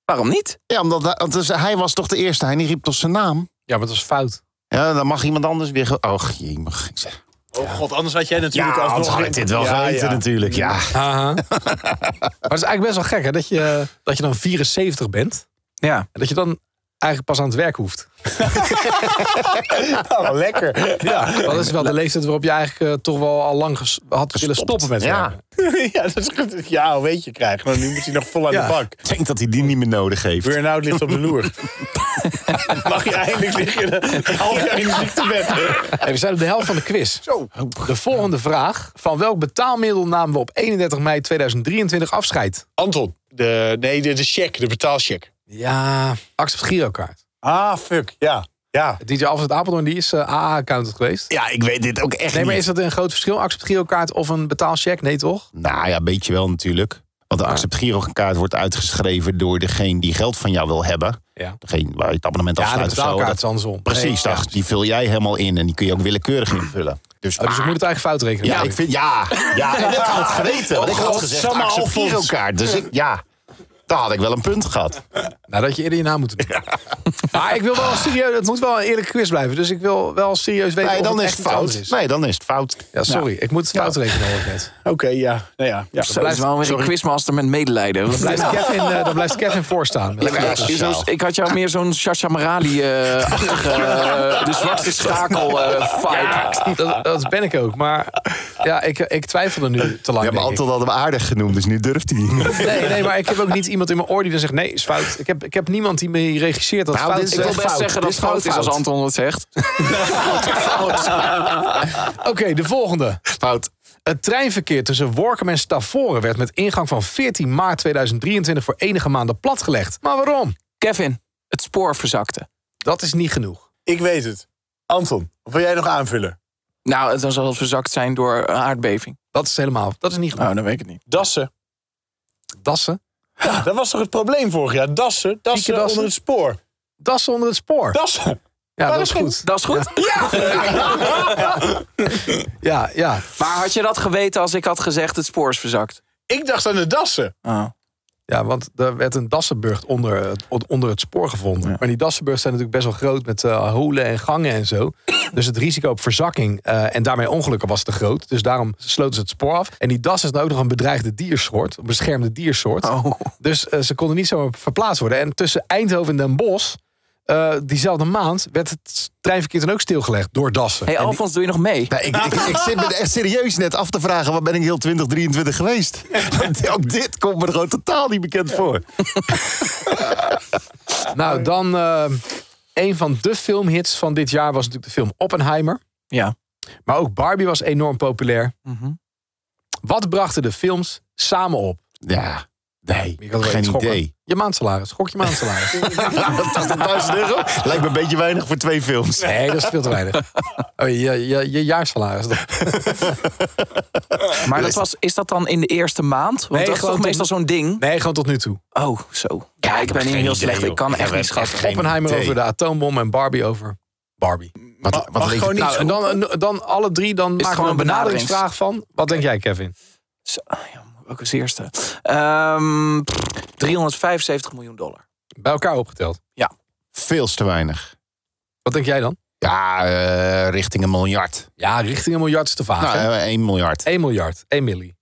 Waarom niet?
Ja, omdat hij, want dus hij was toch de eerste. Hij riep toch zijn naam?
Ja, maar dat was fout.
Ja, dan mag iemand anders weer... ge- Oh, jee, mag ik zeggen.
Oh god, anders had jij natuurlijk
Ja,
alsnog...
anders had ik dit wel
Ja,
geweten
ja.
natuurlijk. Ja.
Aha. maar het is eigenlijk best wel gek hè, dat je, dat je dan 74 bent.
Ja.
En dat je dan eigenlijk pas aan het werk hoeft.
Ja, wel Oh, lekker. <laughs>
Ja. Dat is wel <laughs> de leeftijd waarop je eigenlijk eh, toch wel al lang ges- had willen stoppen met
ja.
werken.
ja, dat is goed. Ja, weet je, krijg. Maar nu moet hij nog vol aan
Ja.
de bak.
Ik denk dat hij die niet meer nodig heeft.
Burn-out ligt op de loer. <laughs> Mag je eindelijk liggen <laughs> een half jaar in de ziektebed.
Hey, we zijn op de helft van de quiz. De volgende vraag. Van welk betaalmiddel namen we op 31 mei 2023 afscheid?
Anton. De, nee, de, de check, de betaalcheck.
Ja, Accept Girokaart.
Ah, fuck, ja. Ja,
DJ Alfred Apeldoorn die is eh, AA-accountant geweest.
Ja, ik weet dit ook echt
Nee, maar
niet.
is dat een groot verschil? Accept Girokaart of een betaalcheck? Nee, toch?
Nou ja, weet je wel natuurlijk. Want de accept girokaart wordt uitgeschreven door degene die geld van jou wil hebben.
Ja.
Degene waar je het abonnement
Ja, de
afsluit of zo.
betaalkaart is
Dat-
andersom.
Precies,
Nee, ja.
dacht, die vul jij helemaal in en die kun je ook willekeurig invullen. Dus, Ah,
Oh, dus ik moet het eigenlijk fout rekenen.
ja, ik vind, ja,
<laughs>
ja, en dat had het geweten. Want ik had gezegd
godsamme
accept
Alfons.
girokaart. Dus ik, ja, daar had ik wel een punt gehad.
Nou, dat je eerder je naam moet doen. <laughs> Maar ik wil wel serieus, het moet wel een eerlijke quiz blijven. Dus ik wil wel serieus weten
Nee,
of
dan
het
is
echt
het
iets anders
fout.
is.
Nee, dan is het fout.
Ja, sorry, ik moet het fout rekenen hoor ik net.
oké, ja. Nou ja, ja.
Zo, dat is wel weer een quizmaster met medelijden. Want-
Blijft Kevin, eh, dan blijft Kevin voorstaan.
Ja, maar
Ja,
is
sociaal.
zo'n- ik had jou meer zo'n Shasha
<laughs>
Marali-achtige,
Eh,
eh, de zwarte eh, schakel-vibe.
Dat, dat ben ik ook, maar ja, ik, ik twijfel er nu te lang.
Ja, maar
denk ik.
Anton had hem aardig genoemd, dus nu durft hij
<laughs>
niet.
Nee, nee, maar ik heb ook niet iemand in mijn oor die dan zegt: nee, is fout. Ik heb, ik heb niemand die me regisseert dat het
Nou,
fout is.
dit is
ik wil
echt
best
fout.
zeggen
Dit
dat
is
het
gewoon
fout is als
fout.
Anton het zegt.
Oké, de volgende.
Fout.
Het treinverkeer tussen Workum en Stavoren werd met ingang van 14 maart 2023 voor enige maanden platgelegd. Maar waarom?
Kevin, het spoor verzakte.
Dat is niet genoeg.
Ik weet het. Anton, wat wil jij nog aanvullen?
Nou, het zal wel verzakt zijn door een aardbeving.
Dat is helemaal. Dat is niet genoeg.
Nou, dan weet ik het niet.
Dassen.
Dassen.
Ja, dat was toch het probleem vorig jaar? Dassen, dassen,
dassen.
onder het spoor.
Dassen onder het spoor.
Dassen.
Ja, dat is goed.
Dat is goed? Ja.
Ja, ja.
<laughs> Maar had je dat geweten als ik had gezegd het spoor is verzakt?
Ik dacht aan de dassen.
Oh.
ja, want er werd een Dassenburg onder het, onder het spoor gevonden. Maar die Dassenburg zijn natuurlijk best wel groot met eh, holen en gangen en zo. <coughs> Dus het risico op verzakking eh, en daarmee ongelukken was te groot. Dus daarom sloten ze het spoor af. En die das is nou ook nog een bedreigde diersoort, een beschermde diersoort.
Oh.
Dus eh, ze konden niet zomaar verplaatst worden. En tussen Eindhoven en Den Bosch, eh, diezelfde maand, werd het treinverkeer dan ook stilgelegd door dassen.
hey,
En die-
Alfons, doe je nog mee?
Nou, ik, ik, ik zit me echt serieus net af te vragen... waar ben ik heel
<laughs>
2023 geweest? Want Ook dit komt me gewoon totaal niet bekend voor.
Nou, dan eh, een van de filmhits van dit jaar was natuurlijk de film Oppenheimer.
Ja.
Maar ook Barbie was enorm populair. Wat brachten de films samen op?
Ja, nee,
Je kan het wel
geen
iets gokken.
idee.
Je maandsalaris, gok je maandsalaris.
80.000 euro? Lijkt me een beetje weinig voor twee films.
Nee, dat is veel te weinig. <laughs> Oh, je, je, je jaarsalaris.
Maar dat was, is dat dan in de eerste maand? Want
Nee,
dat is
gewoon
toch
tot-
meestal zo'n ding?
Nee, gewoon tot nu toe.
Oh, zo. Ja, ik ben hier heel slecht. Ik kan echt niet schatten.
Oppenheimer over de atoombom en Barbie over Barbie.
Wat, wat
Mag
levert-
gewoon niet
Nou, en
zo-
dan, en dan alle drie, dan maken we
gewoon
een
een
benaderingsvraag van. Wat denk jij, Kevin?
Zo, ah, ja, ook als eerste. Ehm, pff, 375 miljoen dollar.
Bij elkaar opgeteld.
Veel te weinig.
Wat denk jij dan?
Ja, eh, richting een miljard.
Ja, richting een miljard is te vaag.
Nou,
hè?
eh, 1 miljard.
1 miljard, 1 milli.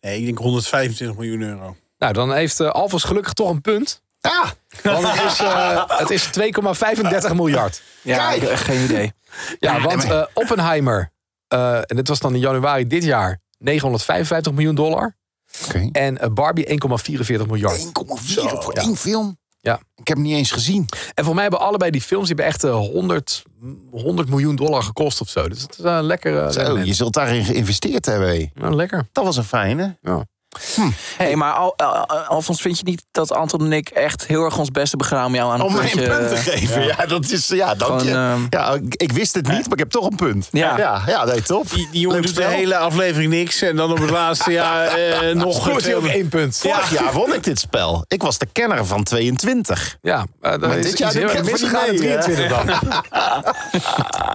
Nee, ik denk 125 miljoen euro.
Nou, dan heeft eh Alfons gelukkig toch een punt.
Ah,
Want het is, eh, het is 2,35 miljard.
Ja,
Kijk.
ik heb echt geen idee.
Ja, want eh, Oppenheimer, eh, en dit was dan in januari dit jaar, 955 miljoen dollar.
oké.
En eh, Barbie 1,44 miljard.
1,4 voor
Ja.
één film?
Ja.
Ik heb hem niet eens gezien.
En voor mij hebben allebei die films, die hebben echt eh, 100, 100 miljoen dollar gekost of zo. Dus het is een lekker. eh,
Zo,
rendement.
je zult daarin geïnvesteerd hebben. hé.
Nou, lekker.
Dat was een fijne.
Hey, maar Al, Al- Al- Alfons, vind je niet dat Anton en ik echt heel erg ons best hebben gedaan om jou aan een
Om mij een
puntje...
punt te geven. eh, Ja, dat is... Ja, dank
Gewoon,
je.
ehm,
Ja, ik, ik wist het niet, maar ik heb toch een punt.
Ja.
ja, ja nee, top.
Die, die jongen
Leuk
doet de
spel.
hele aflevering niks. En dan op het laatste <laughs> jaar eh, nog...
Scoort hij ook
200.
één punt. Ja,
Vorig jaar won ik dit spel. Ik was de kenner van 22.
eh, dat
Maar
is
dit
iets
jaar
heel
doe ik
erg
het voor
misgegaan in
die mee, hè?
23 dan.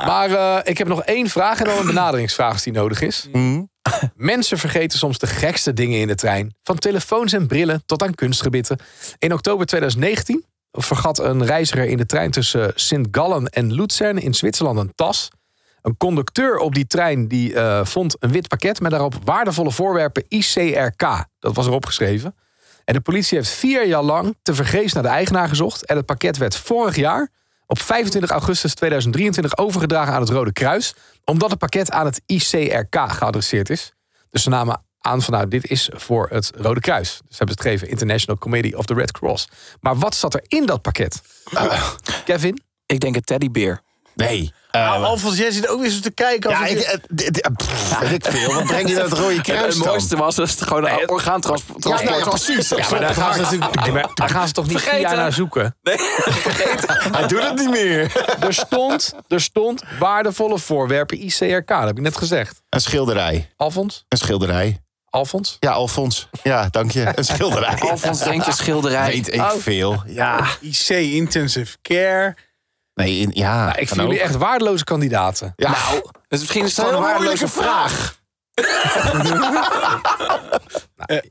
maar eh, ik heb nog één vraag en dan een benaderingsvraag als die nodig is. Mensen vergeten soms de gekste dingen in de trein. Van telefoons en brillen tot aan kunstgebitten. In oktober 2019 vergat een reiziger in de trein tussen eh, Sint Gallen en Luzern in Zwitserland een tas. Een conducteur op die trein die, eh, vond een wit pakket met daarop waardevolle voorwerpen ICRK. Dat was erop geschreven. En de politie heeft vier jaar lang tevergeefs naar de eigenaar gezocht. En het pakket werd vorig jaar op 25 augustus 2023 overgedragen aan het Rode Kruis. Omdat het pakket aan het ICRK geadresseerd is. Dus ze namen aan van nou, dit is voor het Rode Kruis. Dus hebben ze het gegeven International Committee of the Red Cross. Maar wat zat er in dat <coughs> pakket? Kevin?
Ik denk een teddybeer.
Nee.
Ah, Alfons, jij zit ook weer zo te kijken.
Ja,
alsof
ik,
je-
eh, d- d- eh, pff, weet ik veel. Wat breng je dat <laughs> rode kruis
het
dan?
mooiste was dus gewoon een orgaantransport.
Ja, nou ja, precies.
daar gaan ze natuurlijk daar gaan ze toch niet vier jaar
Vergeten.
naar zoeken?
Hij doet het niet meer.
Er stond, er stond waardevolle voorwerpen ICRK. Dat heb ik net gezegd.
Een schilderij.
Alfons?
Een schilderij.
Alfons?
Ja, Alfons. Ja, dank je. Een schilderij.
Alfons denkt een schilderij.
Weet ik veel. Ja.
IC, intensive care.
Nee, in, ja.
Nou, Ik
kan
vind jullie
ook.
echt waardeloze kandidaten.
Ja.
Nou, dus misschien is
Wat
het gewoon
een
een
moeilijke
waardeloze vraag.
vraag.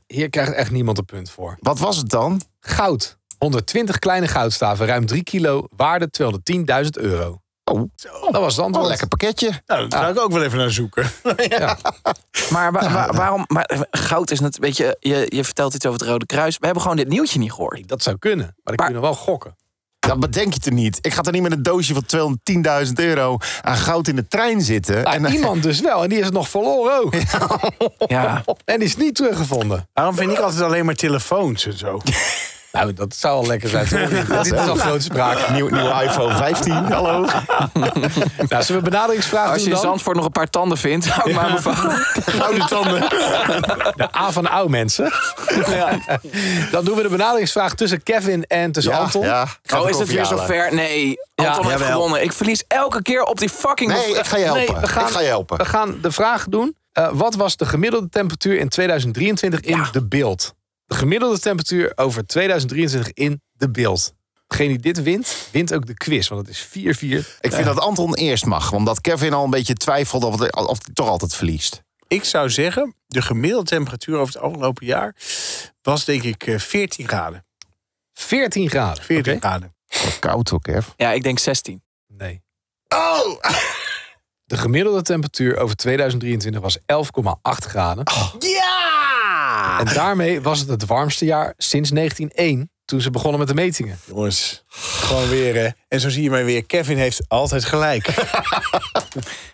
Hier krijgt echt niemand een punt voor.
Wat was het dan?
Goud. 120 kleine goudstaven, ruim 3 kilo, waarde 210.000 euro.
Oh,
Dat was het
wat
antwoord.
een lekker pakketje.
Nou, daar zou ik ook wel even naar zoeken. <laughs>
Maar wa- wa- waarom? Maar eh, goud is net, weet je, je, je vertelt iets over het Rode Kruis. We hebben gewoon dit nieuwtje niet gehoord.
Dat zou kunnen, maar dan
Maar-
kun je nog wel gokken.
Dat bedenk je er niet. Ik ga er niet met een doosje van 210.000 euro aan goud in de trein zitten.
Nou,
<laughs> dan-
iemand dus wel, en die is het nog verloren ook.
Ja.
En die is niet teruggevonden.
Waarom vind ik altijd alleen maar telefoons en zo?
Nou, dat zou al lekker
<laughs>
zijn. Dit is al grote sprake.
Nieuw, nieuwe iPhone
<laughs>
15, Oh, hallo.
Nou, zullen we benaderingsvraag
Als je
doen
in
dan?
Zandvoort nog een paar tanden vindt, hou ik maar bevangen. <laughs>
Gouden tanden.
<laughs> De A van de oude mensen. Dan doen we de benaderingsvraag tussen Kevin en tussen Anton.
ja.
Oh, is het weer
zo
zover? Nee, Anton heeft
jawel.
gewonnen. Ik verlies elke keer op die fucking...
Nee, ik ga je helpen.
we gaan-
Ik ga je helpen.
We gaan de vraag doen. eh, wat was de gemiddelde temperatuur in 2023 in de beeld? De gemiddelde temperatuur over 2023 in de beeld. Degene die dit wint, wint ook de quiz. Want het is 4-4.
Ik vind dat Anton eerst mag, omdat Kevin al een beetje twijfelde of, het- of hij toch altijd verliest.
<laughs> Ik zou zeggen, de gemiddelde temperatuur over het afgelopen jaar was denk ik eh, 14 graden.
14 graden.
14
Oké.
graden.
Koud ook, Kev.
Ja, ik denk 16.
Nee.
Oh!
De gemiddelde temperatuur over 2023 was 11,8 graden.
Ah. Ja!
En daarmee was het het warmste jaar sinds 1901, toen ze begonnen met de metingen.
Jongens, gewoon weer hè. En zo zie je mij weer, Kevin heeft altijd gelijk.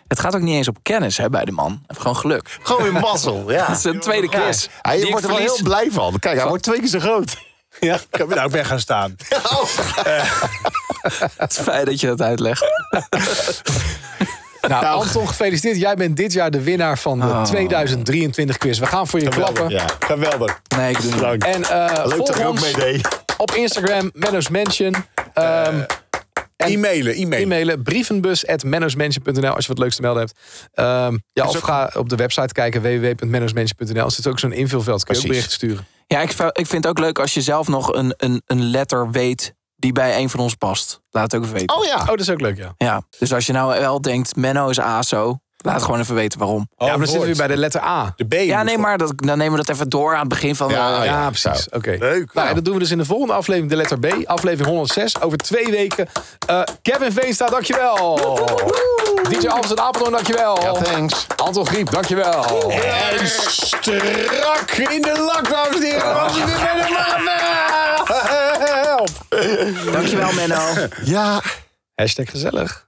Het gaat ook niet eens op kennis hè, bij de man. Hij heeft gewoon geluk.
Gewoon weer mazzel, ja.
Dat is een tweede quiz.
Hij
die ik
wordt er wel
verlies.
heel blij van. Kijk, hij wordt twee keer zo groot.
ja, ik heb- nou, ik ben gaan staan.
<laughs> Het is fijn dat je dat uitlegt.
Nou, Anton, gefeliciteerd. Jij bent dit jaar de winnaar van de
Ah.
2023 quiz. We gaan voor je klappen.
Ja, geweldig.
Nee, ik doe het niet.
Dank.
En eh
Leuk dat
volg
hij ook
ons
mee deed.
op Instagram, Menno's Mansion. Ehm, en
E-mailen, e-mailen.
E-mailen brievenbus.menno'smansion.nl als je wat leuks te melden hebt. Ehm, ja, of ga op de website kijken www.menno'smansion.nl. Er zit ook zo'n invulveld. Kun je ook
Precies.
berichten sturen.
Ja, ik, vra- ik vind het ook leuk als je zelf nog een, een, een letter weet die bij een van ons past. Laat het ook even weten.
Oh ja.
Oh, dat is ook leuk, ja.
Ja, dus als je nou wel denkt, Menno is ASO, laat gewoon even weten waarom.
ja, maar dan zitten we weer bij de letter A.
de B.
Ja,
moet
nee,
voor-
maar dat, dan nemen we dat even door aan het begin van...
Oh, Ja,
eh,
oh
ja,
zo.
precies. Oké.
Leuk.
Nou, en dat doen we dus in de volgende aflevering, de letter B, aflevering 106, over twee weken. Eh, Kevin Veenstra, dankjewel. DJ Alves en Apeldoorn, dankjewel.
Ja, thanks.
Anton Griep, dankjewel.
En strak in de lak, dames en heren. Was het weer bij de mannen. Help.
Dankjewel, Menno.
<laughs> Ja.
Hashtag gezellig.